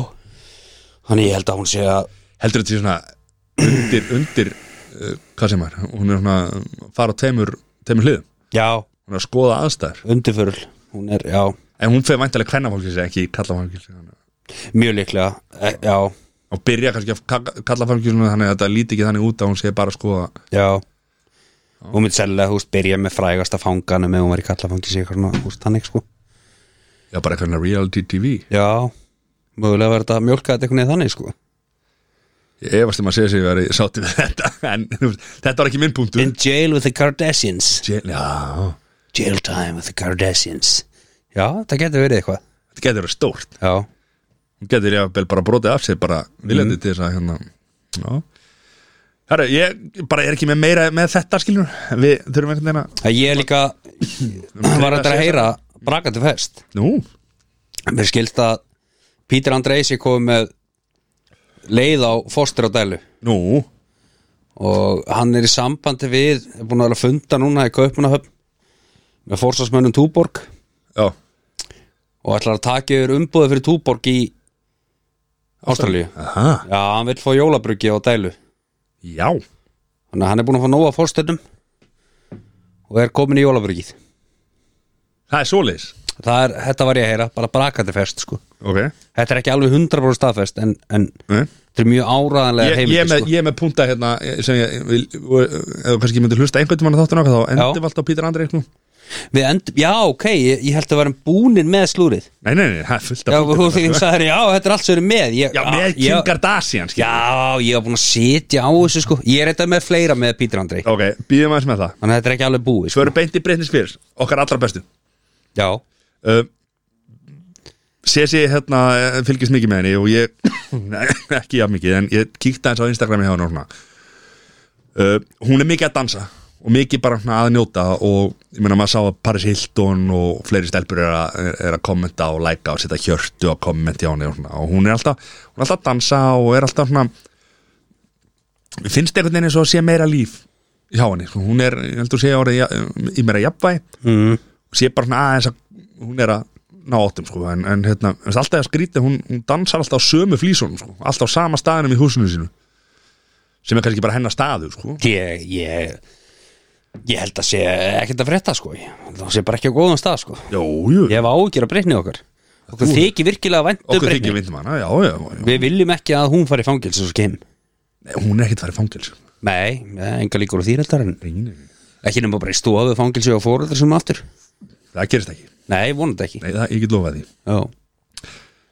B: Þannig ég held að hún sé að
A: heldur þetta sé svona undir, undir uh, hvað sem er, hún er svona um, fara á teimur, teimur hliðum
B: Já,
A: hún er að skoða aðstæður
B: undirförul Hún er, já,
A: en hún fyrir væntalega kvennafólkilsi ekki kallafólkilsi og
B: mjög líklega e, Já,
A: byrja kannski að kallafólkilsi þannig að þetta líti ekki þannig út að hún sé bara sko að
B: já Hún myndi selja, þú veist, byrja með frægasta fanganum ef hún var í kallafangi sig eitthvað svona, þú veist, þannig sko
A: já bara eitthvað svona reality tv
B: Já, mögulega verður þetta mjólka þetta eitthvað neð þannig sko
A: ég efast um að segja sig að vera sátti við þetta en þú veist, þetta var ekki minn punktur
B: In jail with the Kardashians
A: Jail- já,
B: Jail time with the Kardashians Já, það getur verið eitthvað
A: þetta getur verið stórt
B: Já,
A: hún getur jáfnvel bara brotið af sér bara viljandi til þess að hérna já Herra, ég bara er ekki með meira með þetta skilur við þurfum einhvern veginn að
B: að ég er líka var þetta að heyra brakandi fest
A: nú,
B: Mér skilst að Pítur Andrei sér komið með leið á fóstur á dælu
A: nú,
B: og hann er í sambandi við er búin að vera að funda núna í Kaupunahöfn með fórsvarsmönnum Túborg
A: já
B: og ætlar að taka yfir umbúði fyrir Túborg í Ástralíu
A: aha,
B: Já, hann vill fá jólabruggi á dælu
A: já,
B: Þannig að hann er búin að fá nóga fórstöndum og er komin í jólabruggið
A: það er svoleiðis
B: það er, þetta var ég að heyra, bara brakandi fest sko.
A: ok,
B: þetta er ekki alveg 100% staðfest en, en
A: Nei.
B: þetta er mjög áraðanlega
A: ég, ég,
B: heimildi
A: er með,
B: sko.
A: ég er með punta eh, hérna sem ég vil, og- eða kannski ég myndi hlusta einhvern tímann að þáttu nokkað þá endur
B: Já.
A: við alltaf Pítur Andri já,
B: Við endum, já, ok, ég, ég held að varum búnin með slúrið
A: Nei, nei, nei, það er fullt
B: Já,
A: af
B: þú þegar sagði, já, þetta er allt sem er með ég,
A: Já, með
B: ég-
A: Kim Kardashian skilur.
B: Já, ég var búin að sitja á þessu sko Ég er eitthvað með fleira með Pítur Andrei
A: Ok, býðum aðeins með það
B: Þannig að þetta er ekki alveg búið sko.
A: Svo eru beint í Britney Spears, okkar allra bestu
B: Já,
A: uh, Sesi hérna eh, fylgist mikið með henni og ég Nei, ekki jafn mikið, en ég kíkti aðeins á Instagrami hjá henni og svona uh, Hún er mikið að dansa og mikið bara svona að njóta og ég meina maður sá að Paris Hilton og fleiri stelpur er, a, er að kommenta og læka og setja hjörtu og kommenti á henni og, svona. og hún er alltaf, hún er alltaf að dansa og er alltaf svona Mér finnst einhvern veginn eins og að sé meira líf hjá henni, sko. hún er, ég heldur að sé orðið í meira jafnvæg
B: mm.
A: og sé bara svona aðeins að hún er að ná áttum sko en, en hérna, en alltaf að skrýta hún, hún dansar alltaf á sömu flísunum sko alltaf á sama staðinum í húsinu sínu sem er kannski bara hennar staður sko
B: ég, ég Ég held að sé ekkert að frétta sko Það sé bara ekki á góðum stað sko
A: Jú, jú,
B: Ég hef ágjör að breytni okkar Okkur þykir virkilega væntu
A: okkur þykir
B: breytni
A: vindum hana já, já, já,
B: Við viljum ekki að hún fari í fangils og skeim
A: Nei, hún er ekkert farið fangils
B: Nei, enga líkur á þýrættar en Ekki nema bara í stofu fangilsi og fóröldar sem aftur
A: það gerist ekki,
B: Nei, vonandi ekki
A: Nei, það, ég get lofað því
B: Já.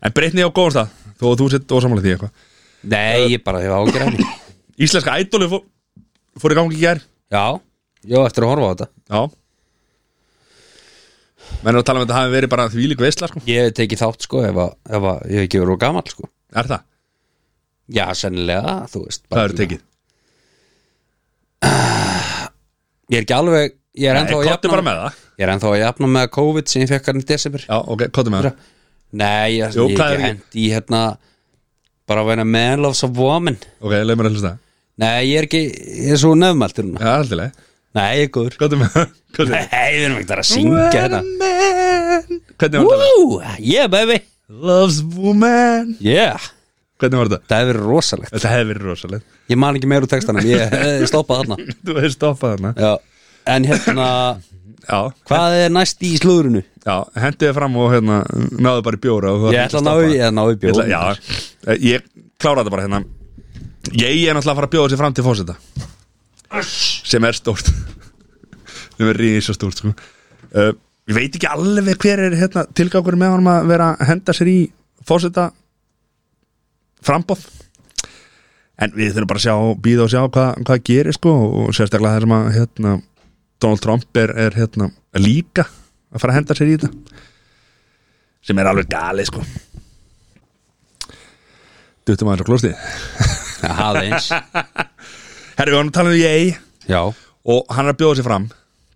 A: en breytni á góðan stað, þó að þú sett ósamála því eitthvað
B: Nei, ég bara hef ágjör að henni
A: Íslenska ædoli fór, fór í gangi í gær
B: Já, já, eftir að horfa á þetta
A: já menn eru að tala um að þetta hafi verið bara þvílík veisla sko,
B: Ég hef tekið þátt sko ef, að, ef að, ég hef ekki verið of gamall sko
A: er það,
B: Já, sennilega, þú veist
A: það eru tekið
B: Ég er ekki alveg, ég er ennþá að
A: kottu Eh, bara
B: jafna
A: með það
B: Ég er ennþá að jafna með COVID sem ég fekk hann í desember
A: já, ok, kottu með það
B: Nei, ég,
A: Jú,
B: ég
A: hvað er
B: ekki
A: ekki?
B: hend í hérna bara að vera man loves a woman
A: Ok, leið mér að hlusta
B: Nei, ég er ekki, ég er svo nefnmæltur núna
A: Já, allirlega
B: Nei, ég er góður
A: Hvað er með Hvað er
B: Nei, við erum ekkert að syngja hérna
A: Hvernig var þetta?
B: Woo, yeah baby,
A: Loves woman
B: yeah
A: Hvernig var þetta?
B: Það hefur verið rosalegt
A: Þetta hefði verið rosalegt
B: Ég man ekki meir úr textanum, ég eh, stoppaði þarna
A: Þú hefði stoppað hana
B: Já, en hérna
A: Já,
B: Hvað er næst í slúðrunu?
A: já, hendið þið fram og hérna Náðu bara í bjóra og þú
B: Ég
A: ætlar
B: ætla að
A: ekki stoppa.
B: ná í, ég ná í
A: Ég ætla-
B: bjóð
A: Já, Eh, ég klára þetta bara hérna Ég er náttúrulega að fara að bjóða sér fram til fósita Sem er stórt Sem er ríðis og stórt sko. uh, Ég veit ekki alveg hver er hérna, tilgangur með honum að vera að henda sér í fósita Frambóð En við þurfum bara að sjá, býða og sjá hvað, hvað gerir sko og sérstaklega það sem að hérna, Donald Trump er, er hérna, líka að fara að henda sér í þetta sem er alveg galið sko Duttum aðeins á klósti
B: Aðeins
A: Herri, við varum að tala um ég
B: Já,
A: og hann er að bjóða sér fram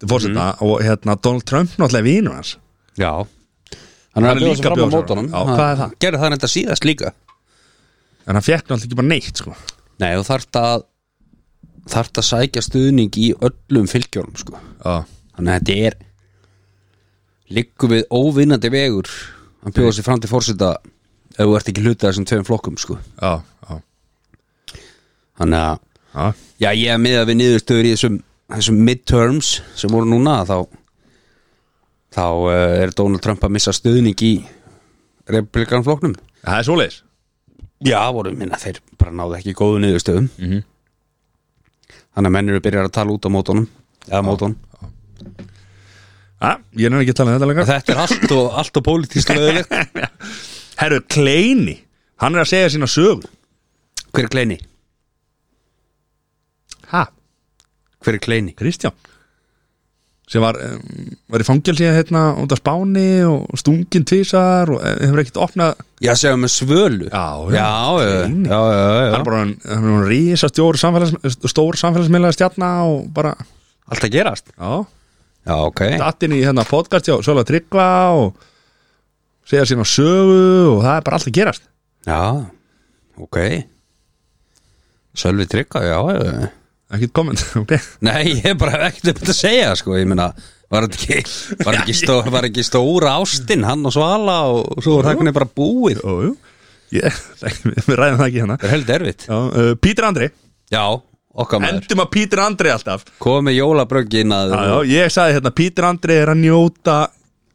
A: til fórseta og hérna Donald Trump náttúrulega vinur hans
B: já Hann
A: Hann
B: er
A: er
B: að bjóða
A: líka
B: sig fram á
A: bjóða sig
B: mótunum
A: fram. Já, hvað er það?
B: Gerði það reynda síðast líka
A: en hann fekk náttúrulega ekki bara neitt sko
B: Nei, þú þarft að þarft að sækja stuðning í öllum fylgjórum sko.
A: Já,
B: Þannig að þetta er Liggum við óvinnandi vegur Hann bjóða sig fram til fórseta ef þú ert ekki hlutað þessum tveim flokkum sko.
A: já, já,
B: Þannig að
A: já.
B: Já, ég að miða við niðurstöður í þessum, þessum midterms sem voru núna þá, þá eh, er Donald Trump að missa stuðning í republikanfloknum
A: Það er svoleiðis
B: Já, voru minna, þeir bara náðu ekki góðu niðurstöðum -hmm. Þannig að menn eru byrjar að tala út á mótunum eða mótunum
A: Já, ég er ekki að tala um þetta lengur
B: Þetta er allt og, allt og pólitískt lögulegt
A: Herru, Kleini, hann er að segja sína sög
B: Hver er kleini?
A: Hæ?
B: Hver er kleini?
A: Kristján sem var, um, var í fangelsi hérna út af Spáni og stungin tvisar og eh, hefur ekkert opnað
B: Já, segjum við svölu
A: Já, já,
B: já, já, já,
A: Kleini.
B: já, já,
A: hann
B: já.
A: er bara hann, hann er rísa stjór samfélags, stór samfélagsmiðlega stjarna og bara,
B: Allt að gerast
A: já,
B: Já, ok
A: datt inn í hérna podcast hjá Sjöla Tryggva og segja sína sögu og það er bara allt að gerast
B: Já, ok Sölvi Tryggva, já, já, já
A: ekkert komment, ok
B: Nei, ég bara hef ekkert upp að segja sko, ég meina var þetta ekki, var þetta ekki, stó, var ekki stóra ástinn hann og Svala og svo er þakkanir bara búið
A: Ó, jú. ég, við ræðum það ekki hérna
B: Það er held erfitt
A: já, uh, Pítur Andri,
B: Já, okkar maður
A: endum að Pítur Andri alltaf
B: Komið jólabröggin að
A: já, já, ég sagði hérna, Pítur Andri er að njóta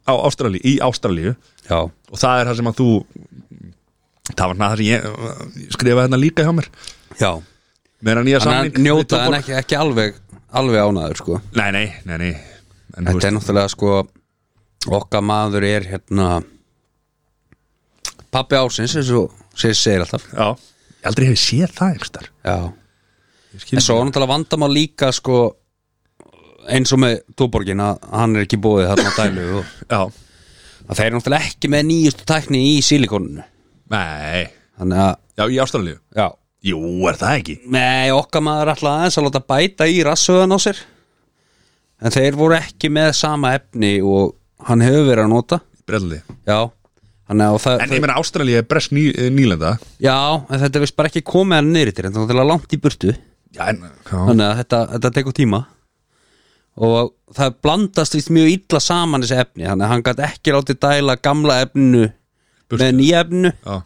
A: á Ástralíu, í Ástralíu
B: já,
A: og það er það sem að þú það var það sem ég uh, skrifaði hérna líka hjá mér
B: já.
A: meira nýja
B: Þannig
A: samning
B: að njóta
A: við
B: en
A: Tuborg.
B: ekki, ekki alveg alveg ánaður sko
A: Nei, nei, nei, nei en þú
B: Þetta er náttúrulega sko okkar maður er hérna pappi ásins eins og segir, segir alltaf
A: Já, ég aldrei hefði séð það einhverstar
B: Já, en svo er náttúrulega vandamál líka sko eins og með Tóborgin að hann er ekki bóðið þarna á dælu og
A: Já,
B: að þeir eru náttúrulega ekki með nýjustu tækni í silikoninu
A: nei
B: þannig að,
A: Já, í ástæðanlíu
B: já,
A: Jú, er það ekki?
B: nei okkar maður alltaf aðeins að láta bæta í rassöðan á sér en þeir voru ekki með sama efni og hann hefur verið að nota
A: Brelli
B: já, þannig að það,
A: En ég meina ástæðanlíu er brest ný, eh, nýlenda
B: Já, en þetta er vist bara ekki komið hann niður í þér en það er langt í burtu
A: Já, en Já,
B: þannig að þetta, þetta tekur tíma og það blandast vist mjög illa saman þessi efni þannig að hann gæti ekki látið dæla gamla efninu
A: Burtu.
B: með nýja efninu
A: já,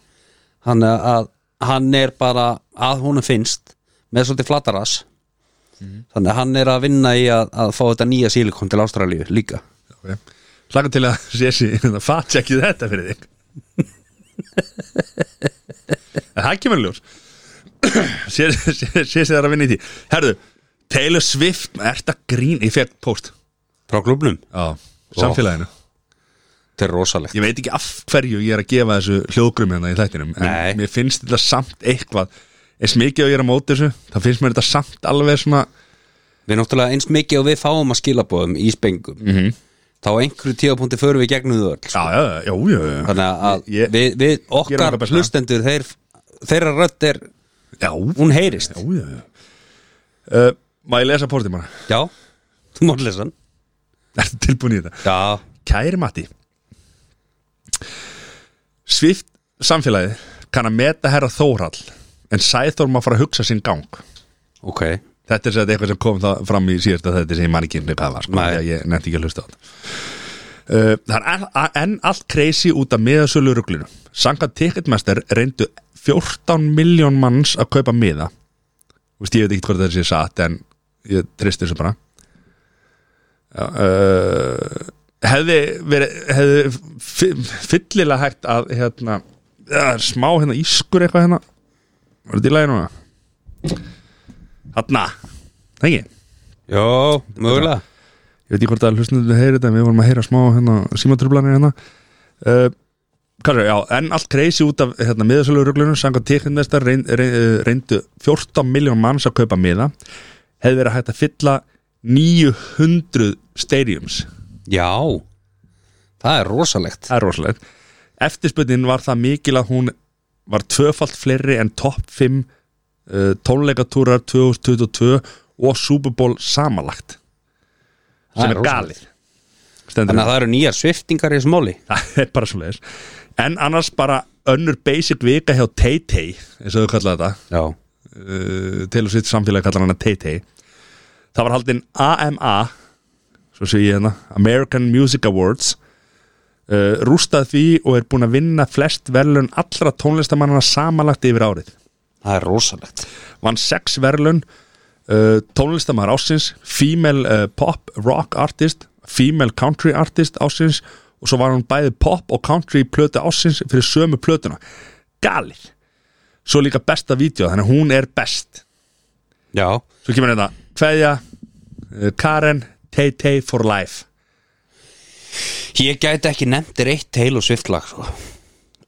B: þannig að hann er bara að honum finnst með svolítið flatarass þannig að hann er að vinna í að, að fá þetta nýja sílikon til Ástralíu líka
A: ok Hlaka til að sé sér Fatt ekki þetta fyrir þig En það kemur í ljós Sé sér það að vinna í því Herðu, Taylor Swift Er þetta grín? Ég fekk post
B: frá klubnum,
A: Já, samfélaginu
B: þetta er rosalegt
A: ég veit ekki af hverju ég er að gefa þessu hljóðgrum hérna í þættinum en
B: Nei.
A: mér finnst þetta samt eitthvað eins mikið að ég er að móti þessu það finnst mér þetta samt alveg svona
B: Við náttúrulega eins mikið og við fáum að skilabóðum í spengum mm -hmm. þá á einhverju tíðapunkti förum við í gegnum þau öll
A: já, já, já, já, já,
B: þannig að
A: Ég-
B: við, við
A: Gerum okkar
B: okkar
A: besta.
B: hlustendur þeir, þeirra rödd er,
A: já, já,
B: hún heyrist Já,
A: já, já. Uh, má ég lesa portið bara
B: þú mátt lesa hann
A: er tilbúin í þetta
B: Já,
A: Kæri Matti Svift samfélagið kann að meta herra Þórhall en Sæþór má fara að hugsa sinn gang
B: ok
A: Þetta er sem sagt eitthvað sem kom það fram í síðasta þetta sem ég man ekki einhvern veginn hvað var sko,
B: Nei.
A: því að ég nefndi ekki að hlusta á þetta Uh, það er a- enn allt kreisi út af miðasölu ruglinu Sankað ticketmester reyndu 14 miljón manns að kaupa miða Þú veist, ég veit ekki hvort þetta sé satt en ég tristi þessu bara Já, uh, hefði verið hefði fi- fyllilega hægt að hérna, ja, smá hérna ískur eitthvað hérna var þetta í lagi núna? Hanna, það ekki?
B: Já, mögulega
A: ég veit ekki hvort að hlustnundu heyri þetta en við vorum að heyra smá hérna, símatrublanir hérna uh, kannski, já, en allt kreysi út af hérna, miðasölu ruglunum, sanga tíkindmestar reyn, reyn, eh, reyndu 14 miljón manns að kaupa miða hefði verið hægt að fylla 900 stadiums,
B: Já, það er rosalegt
A: það er rosalegt eftirspunnin var það mikil að hún var tvöfalt fleiri en topp 5 uh, tónleikatúrar 2022 og Super Bowl samanlagt
B: Það
A: sem er,
B: rosalegt.
A: galið Stendur
B: Þannig að það eru nýjar sviftingar í þessu máli
A: það er bara svo leiðis en annars bara önnur basic vika hjá Tay-Tay eins og þau kallaði þetta
B: Já,
A: uh, til og sitt samfélagi kallaði hana Tay-Tay það var haldin AMA svo sé ég hérna American Music Awards uh, rústað því og er búin að vinna flest verðlun allra tónlistamannana samanlagt yfir árið
B: það er rosalegt
A: vann sex verðlun uh, tónlistamæður ásins female uh, pop rock artist female country artist ásins og svo var hún bæði pop og country plötu ásins fyrir sömu plötuna galið svo líka besta vídeo þannig að hún er best
B: Já,
A: svo kemur þetta Kveðja, uh, Karen, Tay Tay for life
B: ég gæti ekki nefndir eitt Taylor Swift lag sko.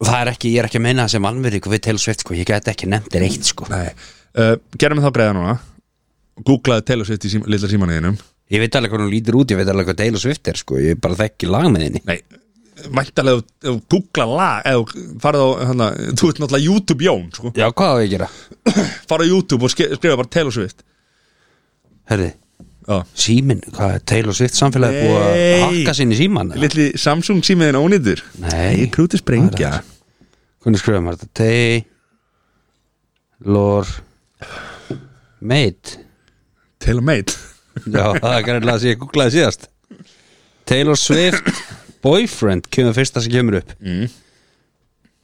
B: Það er ekki, ég er ekki að meina það sem anverðingu við Taylor Swift sko. Ég gæti ekki nefndir eitt sko.
A: Nei. Uh, gerum við þá greiða núna googlaði Taylor Swift í sím, lilla símanuðinum
B: Ég veit alveg hvað hún lítur út, ég veit alveg hvað Taylor Swift er sko. Ég bara þekki lag með henni
A: Nei, væntalega ef þú googla lag eða þú farið á, hana, þú ert náttúrulega YouTube Jón sko.
B: Já, hvað á ég að gera?
A: fara á YouTube og ske- skrifa bara Taylor Swift
B: Herði,
A: Já.
B: símin, hvað er Taylor Swift samfélagi búið að
A: Nei.
B: hakka sinni síman?
A: Lilli Samsung símiðin ónýttur
B: Nei,
A: Krúti sprengja
B: hvernig skrifa maður þetta? Taylor Made
A: Taylor made
B: Já, það er greinlega að ég googlaði síðast Taylor Swift Boyfriend kemur fyrsta sem kemur upp mm.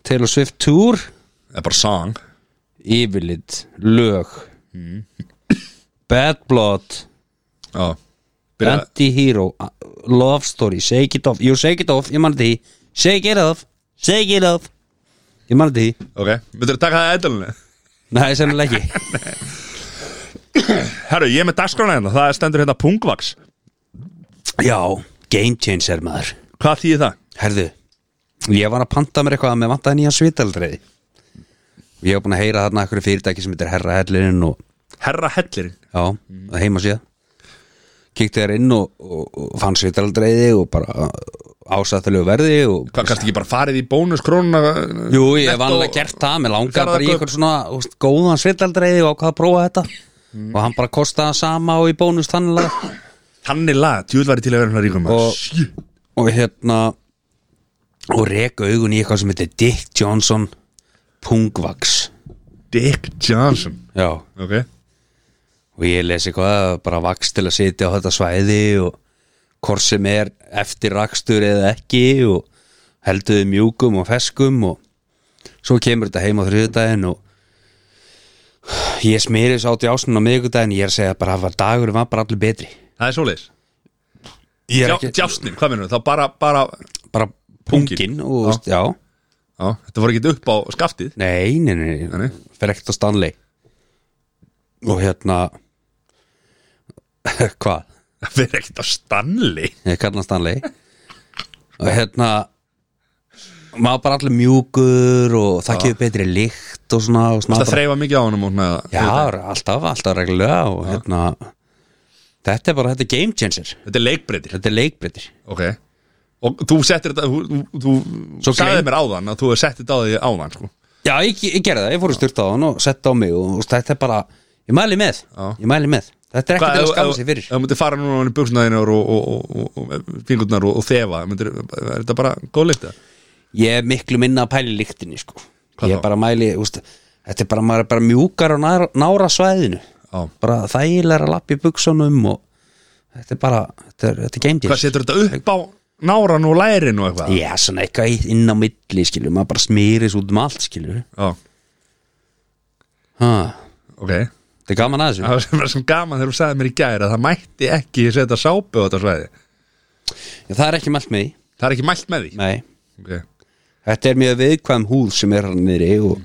B: Taylor Swift Tour
A: Það er bara song
B: Yfirlit, lög Bad Blood
A: Já Byrja,
B: Anti-hero, uh, love story Shake it off, jú shake it off, ég mann því Shake it off, shake it off Ég mann því,
A: ok, myndur að taka það eðalunni
B: nei sennilega ekki
A: Herru, ég er með dagskrána hérna, það stendur hérna pungvaks
B: Já, game changer maður
A: Hvað þýði það?
B: Herðu, ég var að panta mér eitthvað að mér vantaði nýjan svitaldreiði Ég var búin að heyra þarna eitthvað fyrirtæki sem heitir Herra Hellirinn og
A: Herra hellirinn
B: já, mm. heima síðan Kíkti þér inn og, og, og fann svitaldreiði og bara ásættilegu verði og
A: Hvað kannski ekki bara farið í bónus krónuna
B: Jú, ég hef
A: Netto-
B: vanlega gert það, mér langar
A: Garðar
B: bara í
A: Gaup.
B: eitthvað svona þú veist, góðan svitaldreiði og ákvað að prófa þetta og hann bara kostaði hann sama og í bónus þannlega
A: Þannig lag, djúð væri til að vera hérna ríkum
B: Og- og hérna og reka augun í eitthvað sem heitir Dick Johnson Pungvax
A: Dick Johnson
B: Já,
A: Ok
B: og ég lesi eitthvað bara vaks til að sitja á þetta svæði og hvort sem er eftir rakstur eða ekki og helduði mjúkum og feskum og svo kemur þetta heim á þriðudaginn og ég smýri þessu átt í ásunum á miðvikudaginn ég er að segja bara að dagur var bara allir betri
A: Það er svoleiðis
B: ég er
A: Djá,
B: ekki
A: Djásnin, hvað minnum við? Þá bara, bara á,
B: bara pungin og já, já
A: Þetta voru ekki upp á skaftið
B: nei, nei, nei,
A: Nei, nei.
B: nei. fer ekkert á Stanley og hérna hvað?
A: Það fyrir ekkert á Stanley
B: ég kalla hann Stanley og hérna maður bara allir mjúkur og það gefur betri lykt og svona, og svona
A: Það þreifa mikið á honum og svona
B: já, alltaf, alltaf reglulega og hérna þetta er bara, þetta er game changer
A: Þetta er leikbreytir
B: þetta er leikbreytir
A: Ok Og þú settir þetta Þú, þú, þú
B: Svo
A: sagði
B: gleym-
A: mér áðan að þú hefur sett þetta á því áðan sko.
B: já, ég, ég gerði það, ég fór að styrta á hann og setta á mig og, og þetta er bara, ég mæli með
A: Já.
B: ég mæli með, þetta er ekki til að skama sig fyrir
A: Ef þú myndir fara núna á buksnaðinur og, og, og, og, og fingurnar og, og þefa myndir, Er þetta bara góð leikta?
B: ég er miklu minna að pæli lyktinni sko.
A: Hvað þá?
B: ég bara mæli, úst, þetta er bara, maður er bara mjúkar og nára, nára svæðinu
A: Já.
B: bara þægilega að lappa í buksunum og þetta er bara þetta er, þetta er game
A: Hvað
B: day
A: setur þetta upp á náran og lærin og eitthvað?
B: já, svona eitthvað í- inn á milli skilur, maður bara smýris út um allt skilur
A: Já,
B: ha,
A: ok
B: þetta er gaman aðeins
A: Það var sem var sem gaman þegar þú sagði mér í gæri að það mætti ekki setja sápu á þetta svæði
B: það er ekki mælt með því,
A: Það er ekki mælt með því
B: nei
A: okay.
B: þetta er mjög viðkvæm húð sem er hann niðri og,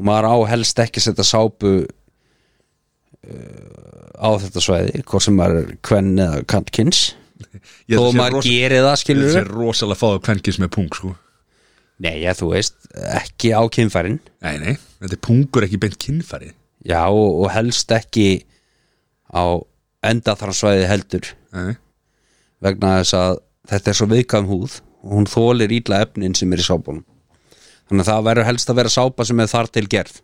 B: og maður á helst ekki að setja sápu uh, á þetta svæði hvort sem maður er kvenn eða kantkins
A: Ég
B: þó
A: held að sé
B: maður
A: rosa-
B: gerir það
A: Ég held að
B: skilur
A: sé rosalega fáðu kvenkis með pung sko
B: nei, já, þú veist, ekki á kynfærin
A: Nei, nei, þetta er pungur ekki beint kynfæri
B: já, og, og helst ekki á endaþransvæði heldur
A: Nei,
B: vegna þess að þetta er svo viðkvæm húð og hún þólir ítla efnin sem er í sápunum þannig að það verður helst að vera sápa sem er þar til gerð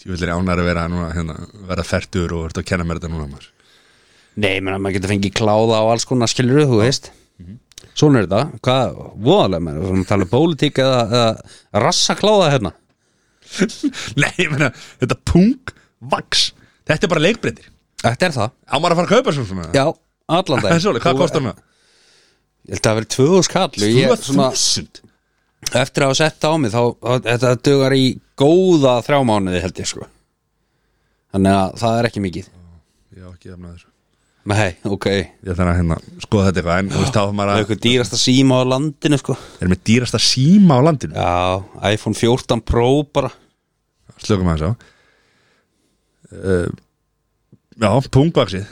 A: ég vil er ánæri að vera núna hérna, vera færtur og verður að kenna mér þetta núna maður.
B: Nei, menn að maður getur fengið kláða á alls konar skilur þú veist Mhm. Svona er þetta, hvað, voðalega menn við erum að tala um pólitík eða, eða rassa kláða hérna
A: Nei, ég meina, þetta pung vaks Þetta er bara leikbreytir
B: Þetta er það,
A: Á maður að fara að kaupa svo svona
B: já, allan
A: Það er
B: dag
A: svolítið, hvað kostar hana?
B: Ég held að það verið tvöðu skall og ég, svona,
A: 2000
B: Eftir að hafa sett á mig þá, þá- þetta dugar í góða þrjá mánuði held ég sko Þannig að það er ekki mikið
A: Já, ekki efna þessu
B: Nei, ok,
A: Ég þarf að hérna, skoða þetta eitthvað En þú veist, þá er
B: það er
A: maður að
B: eitthvað dýrasta síma á landinu sko
A: Er með dýrasta síma á landinu
B: Já, iPhone 14 Pro bara
A: slökum aðeins á uh, Já, pungvaksið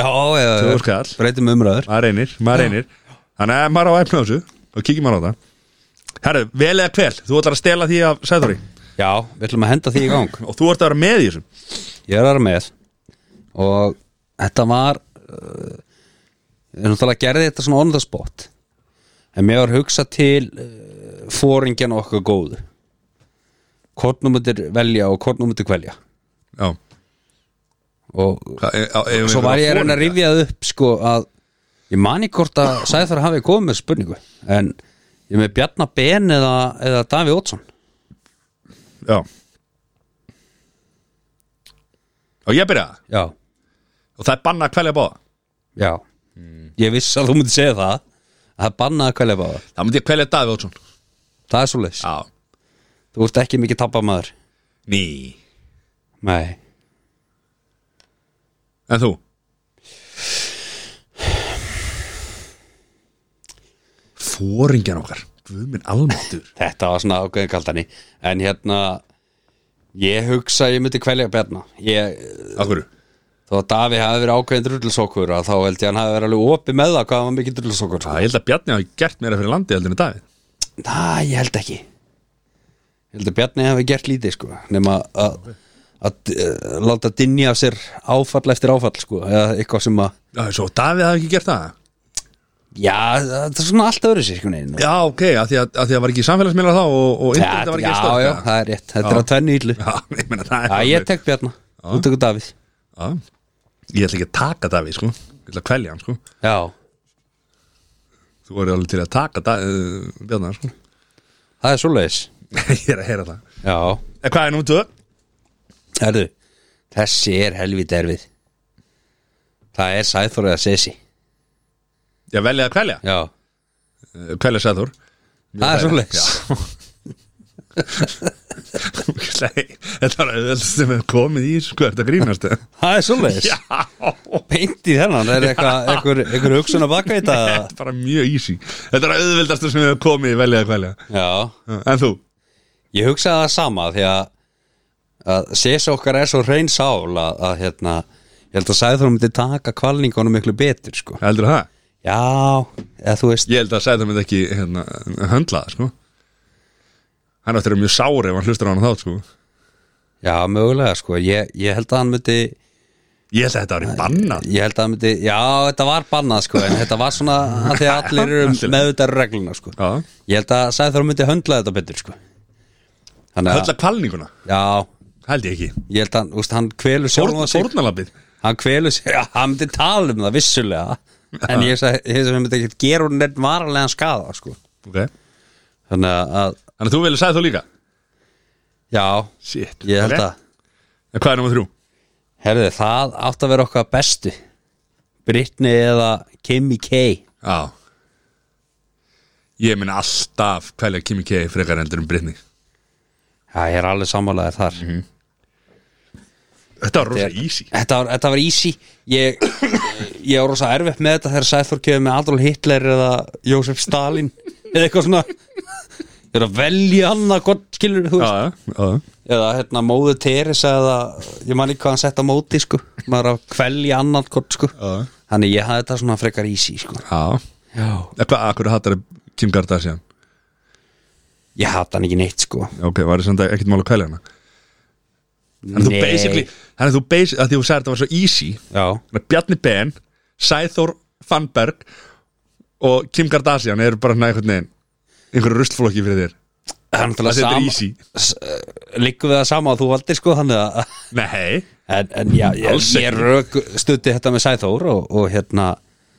B: Já, já,
A: Tvöðu skall.
B: breytum umræður
A: maður reynir, maður reynir Þannig að maður á að efna á þessu og kíkjum maður á það Herru, vel eða kvel, þú ætlar að stela því af Sæðóri
B: Já, við ætlum að henda því í gang
A: og þú ert að vera með í þessu
B: Ég er aðra með Og þetta var uh, Ég náttúrulega gerði þetta svona on the spot En mér var hugsað til uh, Fóringjan okkar góðu Hvort nú myndir velja og hvort nú myndir kvelja
A: Já,
B: Og
A: Hva, e, á, e,
B: svo var ég að reyna að rifja það upp Sko að Ég mani hvort að Sæður hafi komið með spurningu En ég er með Bjarnar Ben eða, eða Davi Ótsson
A: Já Og ég byrja
B: Já,
A: og það er banna að kvelja báða
B: já Ég viss að þú myndir segja það að Það bannaði að kvelja báða
A: Það myndi ég kvelja Davíð Ótsson
B: Það er svoleiðis
A: Já,
B: Þú ert ekki mikið tappamaður
A: ný
B: Nei
A: En þú? Fóringjan okkar Guðminn almáttur
B: Þetta var svona ákveðin kaldani En hérna Ég hugsa að ég myndi kvelja Bjarna ég,
A: Af hverju?
B: þó að Davi hafi verið ákveðin drullusokkur að þá held ég að hann hafi verið alveg opið með það hvað hann var mikið drullusokkur sko.
A: Það held að Bjarni hafi gert meira fyrir landi heldur en Davíð
B: Næ, ég held ekki Ég held að Bjarni hafi gert lítið sko nema að að eh, láta dinja af sér áfall eftir áfall sko eða eitthvað sem að
A: Já, svo Davíð hafi ekki gert það
B: já, það er svona allt öðru sér sko neginn
A: Já, ok, að því að, að því að var ekki samfélagsmiðlar þá og, og internet var ekki
B: já,
A: stórt
B: já, það er rétt, þetta er að tvenni íllu
A: Já, ég meina það er
B: Já, ég tek Bjarni, þú tekur Davíð
A: Já, ég ætla ekki að taka Davíð, sko Ég ætla að kvelja hann, sko
B: Já,
A: Þú voru alveg til að taka Davíð, Bjarnar, sko
B: það er svoleiðis
A: Ég er að heyra það
B: Já,
A: En hvað er númer 2?
B: herðu Þessi er helvít erfið Það er Sæþór eða Sessi
A: Já, velja að kvelja
B: Já,
A: Eh, Kvelja Sæður
B: það er svoleiðis
A: Þetta var auðvitað sem hefur komið í, sko, er þetta að grínast eða?
B: Það er svoleiðis
A: Já,
B: Beint í þennan, er eitthvað einhver, einhver hugsun að baka í þetta
A: þetta er bara mjög easy Þetta er auðvitaðstu sem hefur komið í velja að kvelja Eh,
B: Já,
A: En þú?
B: ég hugsaði það sama því að, að Sessi okkar er svo hrein sál að, að hérna, ég held að Sæþór myndi taka kvalningunum miklu betur sko.
A: Heldur það?
B: Já, eða þú veist
A: Ég held að Sæður myndi ekki hérna, höndla það sko Hann áttur er mjög sári ef hann hlustar á hann þá sko
B: Já, mögulega sko, ég, ég held að hann myndi
A: Ég held að þetta var í banna
B: Ég held að það myndi, já þetta var bannað sko en þetta var svona að því að allir eru með þetta regluna sko
A: Já.
B: Ég held að Sæþór myndi höndla þetta betur sko Þannig að,
A: Höndla kvalninguna,
B: já,
A: held ég ekki
B: ég held að, úst, hann kvelur sjálfum
A: Fórn-
B: að sig
A: Fórnalabið
B: Hann kvelur sig, já, hann myndi tala um það vissulega En ég sagði, ég sagði, hann myndi ekkert gera hún neitt varalega skada sko
A: okay.
B: Þannig að,
A: Þannig að þú velja Sæður líka
B: já,
A: Shit,
B: ég held
A: ok.
B: að
A: En hvað er nummer þrjú?
B: Herðu, það átt að vera okkar bestu Britney eða Kimi K
A: Já Ég minn alltaf kvelja Kimi K frekar endur um Brytni
B: Já, ég er alveg sammálaðir þar
A: Mhm. Þetta var rosa easy
B: Þetta var, þetta var easy Ég, ég var rosa erfitt með þetta þegar Sæþór kefði með Adolf Hitler eða Jósef Stalin eða eitthvað svona ég er að velja annað gott skilur þú veist
A: Já, já,
B: eða hérna móðu Teres eða ég man ekki hvað hann sett á móti sko maður er að kvelja annað gott sko
A: Já.
B: þannig ég hafði þetta svona frekar easy sko
A: já
B: Já.
A: En Hvað, akkur hattar Kim Kardashian?
B: ég hafði hann ekki neitt sko
A: Ok, var það ekkert mál að kvelja hana? Þannig að þú basically Þannig að þú basically, að því þú sagði þetta var svo easy
B: Já,
A: Þannig að Bjarni Ben, Sæþór Fannberg og Kim Kardashian eru bara svona einhvern veginn einhverju ruslflokki fyrir þér
B: það er
A: Það
B: náttúrulega
A: þetta er
B: sama
A: easy
B: Liggum við það sama að þú valdir sko þannig að
A: Nei,
B: En, en já, ég,
A: Alls
B: ég rök stutti þetta með Sæþór og, og hérna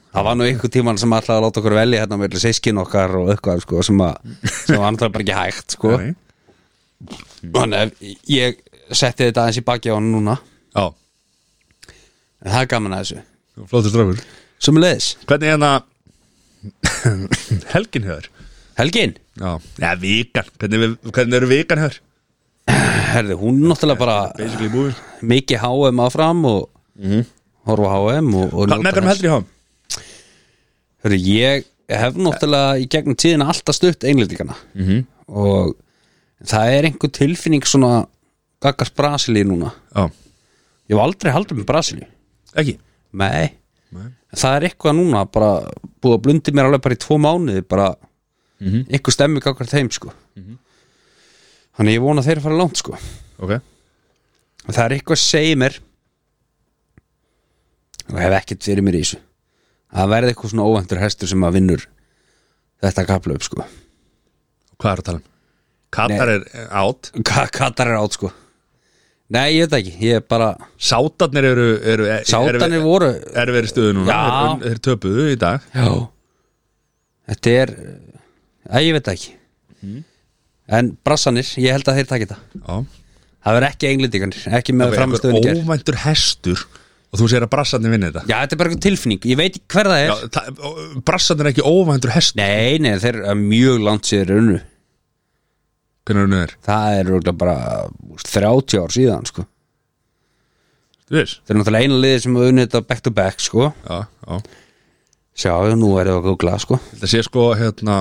B: það var nú einhver tíman sem ætlaði að láta okkur velja hérna með sískin okkar og eitthvað sko, sem, að, sem var náttúrulega bara ekki hægt sko.
A: Nei.
B: Þannig að ég setti þetta aðeins í baki á hann núna
A: Já,
B: en það er gaman að þessu
A: flóttur strákur
B: Sem leðis,
A: Hvernig er hérna Helgin hefur
B: Helgin
A: Já, ja, vikan Hvernig, við- hvernig eru vikan hefur?
B: herði, hún náttúrulega bara
A: Basically búin
B: mikið HM áfram og horfa á HM og, og
A: Mhm. Hvað með hvernig heldur í HM? hám?
B: Hörru, ég hef náttúrulega í gegnum tíðina alltaf stutt einlendingana -hmm. og það er einhver tilfinning svona gaggast Brasilíu núna
A: Já,
B: ég hef aldrei haldið með Brasilíu
A: ekki
B: nei, það er eitthvað núna bara búið að blundi mér alveg bara í tvo mánuði bara -hmm. einhver stemmi gaggast þeim sko þannig ég vona að þeir fara langt sko
A: Ok
B: og það er eitthvað sem segir mér og hef ekkert fyrir mér í þessu að það verði eitthvað svona óvæntur hestur sem að vinnur þetta kaplaup sko
A: Hvað er að tala um? Katar er átt
B: Ka Katar er átt sko Nei, ég veit það ekki, ég er bara
A: Sátarnir eru, eru er-
B: Sátanir
A: eru-
B: voru
A: er verið stöðu núna
B: Já.
A: þeir, þeir töpuðu í dag
B: Já Þetta er Æ, ég veit það ekki En brassanir, ég held að þeir takki það
A: Já.
B: Það verður ekki englendinganir, ekki með
A: Það er
B: framistöðun í ger
A: óvæntur hestur og þú sér að brassarnir vinni þetta
B: Já, þetta er bara eitthvað tilfinning, ég veit ekki hver það er
A: Já, það- brassarnir er ekki óvæntur hestur
B: Nei, nei, þeir eru mjög langt sér unnu
A: hvernig hann er,
B: Það er örugglega bara þú veist, 30 ár síðan sko.
A: þú veist
B: Þeir eru náttúrulega eina liðið sem hafa unnið þetta back to back sko.
A: Já, já
B: Sjá, nú er það að googla sko.
A: Þetta sé sko hérna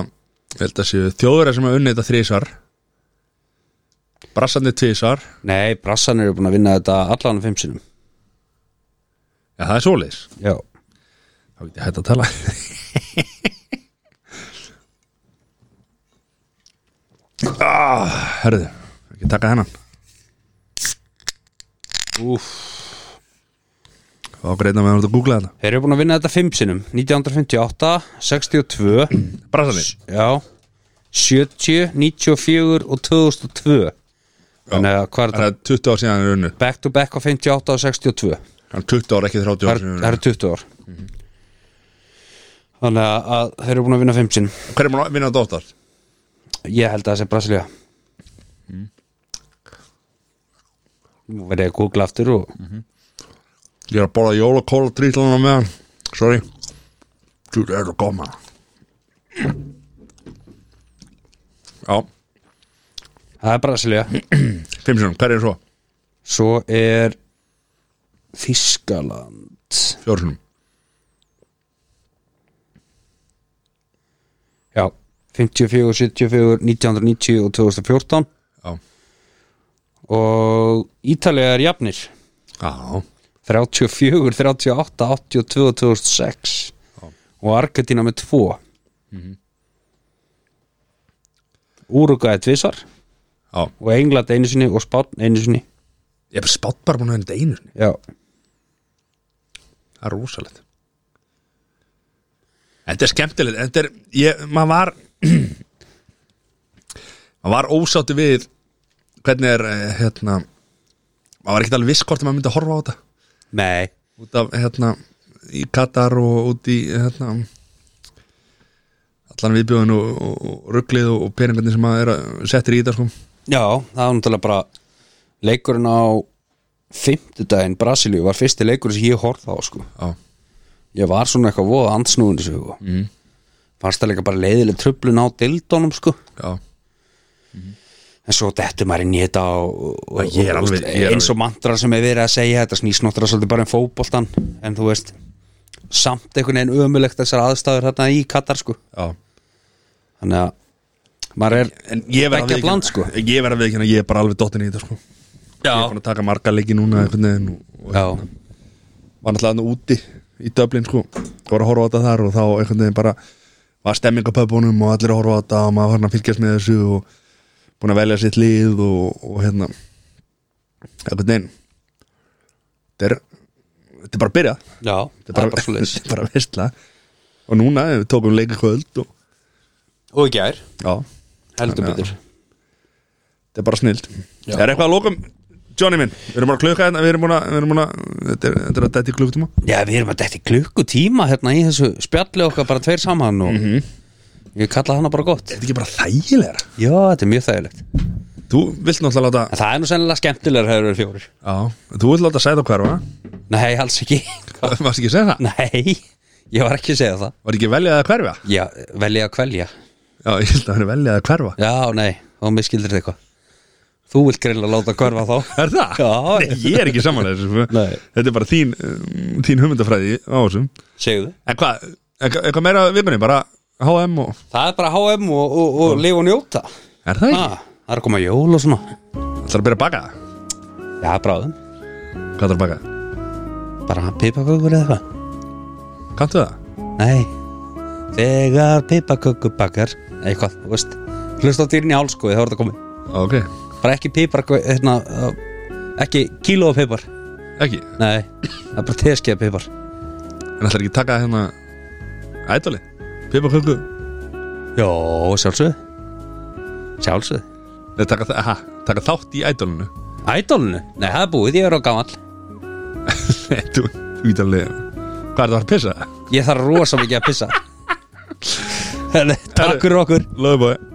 A: ég held að séu þjóðverðar sem hafa unnið þetta þrísar brassarnir tvísar
B: Nei, brassanir eru búin að vinna þetta allan fimm sinnum
A: Já, það er svoleiðis
B: já,
A: Þá get ég hætt að tala ah, Herðu, ekki taka hennan
B: úf
A: Þá greina með hann að googla þetta
B: Þeir eru búin að vinna þetta fimm sinnum 1958, 62
A: Brasanir
B: Já 70, 94 og 2002 Þannig að hvað er
A: Það
B: þetta?
A: er 20 ár síðan hann er unnu
B: Back to back á 58 og 62
A: Hann er 20 ár, ekki 30
B: Það
A: ár
B: er-
A: síðan
B: það eru 20 ár
A: Mhm.
B: Þannig að- að þeir eru búin að vinna fimm sinn
A: Hver er maður að vinna þetta óttast?
B: Ég held að það sé Brasilia
A: Mhm.
B: Nú verði ég að googla aftur og
A: Mhm. Ég er að borða jólakóla trýtlana með hann Sorry Þú er það góð maður Já,
B: Það er Brasilia
A: fimm sinum, hver er svo?
B: Svo er Þískaland
A: Fjóru sinum
B: Já 54, 74, 1990 og 2014
A: Já,
B: og Ítalið er jafnir
A: já,
B: 34, 38, 82 og 2006 og Argentina með 2 mm Úrugaði tvisar
A: já
B: og England einu sinni og Spán einu sinni
A: Ég er spátt bara búin að vinna þetta einu sinni
B: Já,
A: Það er rosalegt Þetta er skemmtilegt Þetta er, ég, maður var maður var ósátti við hvernig er, eh, hérna maður var ekkert alveg viss hvort að maður myndi að horfa á þetta
B: nei
A: út af hérna í Katar og út í hérna allan viðbjóðin og, og, og rugglið og, og peningarnir sem maður er að settir í þetta sko
B: Já, það var náttúrulega bara leikurinn á fimmtudaginn Brasilíu var fyrsti leikurinn sem ég horfði á sko.
A: Já,
B: ég var svona eitthvað voða andsnúin þessu sko. mm. fannst það líka bara leiðileg tröflun á dildónum sko.
A: já,
B: en svo dettur maður inn í þetta og, og,
A: Já, ég er
B: og-
A: alveg- ég er
B: eins og mantra sem er verið að segja þetta snýst náttúrulega svolítið bara um fótboltan en þú veist samt einhvern veginn ömulegt þessar aðstæður hérna í Katar sko.
A: já
B: þannig að maður er
A: En ég verð að
B: Beggja
A: viðurkenna-
B: bland, sko.
A: Ég verð að viðkjöna, ég er bara alveg dottin í þetta sko Ég er fann að hérna. taka marga leiki núna einhvern veginn og, og
B: já,
A: var náttúrulega hann úti í Dublin sko og var að horfa á þetta þar og þá einhvern veginn bara var stemming á pöpunum og allir að horfa á þetta og maður var hann að fylgjast með þessu og búin að velja sitt lið og, og hérna einhvern veginn þetta er, þetta er bara að byrja þetta
B: já, það
A: er bara,
B: svoleiðis.
A: þetta er bara að vissla og núna við tókum leiki kvöld og
B: og í gær,
A: já, Þannig
B: heldur
A: að-
B: betur
A: þetta er bara snild er eitthvað að lokum Johnny minn, við erum bara að klukka hérna, við erum búin að, við erum búin að, þetta er, þetta er að dæti klukkutíma.
B: Já, við erum að dætti klukkutíma hérna í þessu spjalli okkar bara tveir saman og
A: Mhm.
B: ég kalla hana bara gott
A: Þetta er ekki bara þægilegra.
B: Já, þetta er mjög þægilegt En
A: Þú vilt náttúrulega láta
B: það er nú sennilega skemmtilegur hefur verið fjórir
A: Já, þú vilt láta sæða hverfa
B: Nei, alls ekki
A: Varst ekki að segja það?
B: Nei, ég var ekki að segja það
A: Var ekki veljað að hverfa?
B: Já, velja að kvelja
A: Já, ég held að hann er veljað að hverfa
B: Já, nei, þá miskildir þetta eitthvað Þú vilt greinlega láta hverfa þá
A: Er það?
B: Já.
A: Nei, ég er ekki saman þessu sko.
B: Nei.
A: Þetta er bara þín, um, þín hugmyndafræði á þessum
B: Segðu
A: En hvað, eitthvað eitthvað meira af vikunni? Bara H&M og
B: Það er bara HM og, og, og lifa og njóta
A: Er það ekki?
B: ah, Það er að koma jól og svona
A: Það er að byrja að baka
B: Já, bráðum
A: Hvað er að baka?
B: Bara pipakökur eða eitthvað
A: Kanntu það?
B: Nei Þegar pipakökur bakar Eitthvað, þú veist Hlust á dýrin í hálskói, þá er þetta komið
A: Ok,
B: Bara ekki pipar, hérna uh, Ekki kíló af pipar
A: ekki
B: Nei, það er bara teskeið af pipar
A: En ætlar ekki að taka hérna Ædoli, pipaköku
B: Jó, sjálfsög Sjálfsög
A: Nei, taka, þa- aha, taka þátt í ædolinu
B: Ædólinu? Nei, það er búið, ég er á gamall
A: Nei, þú, þú veit alveg Hvað er það að pissa?
B: Ég þarf rosa mikið að pissa Herri, Takk fyrir okkur
A: Lóðu bóði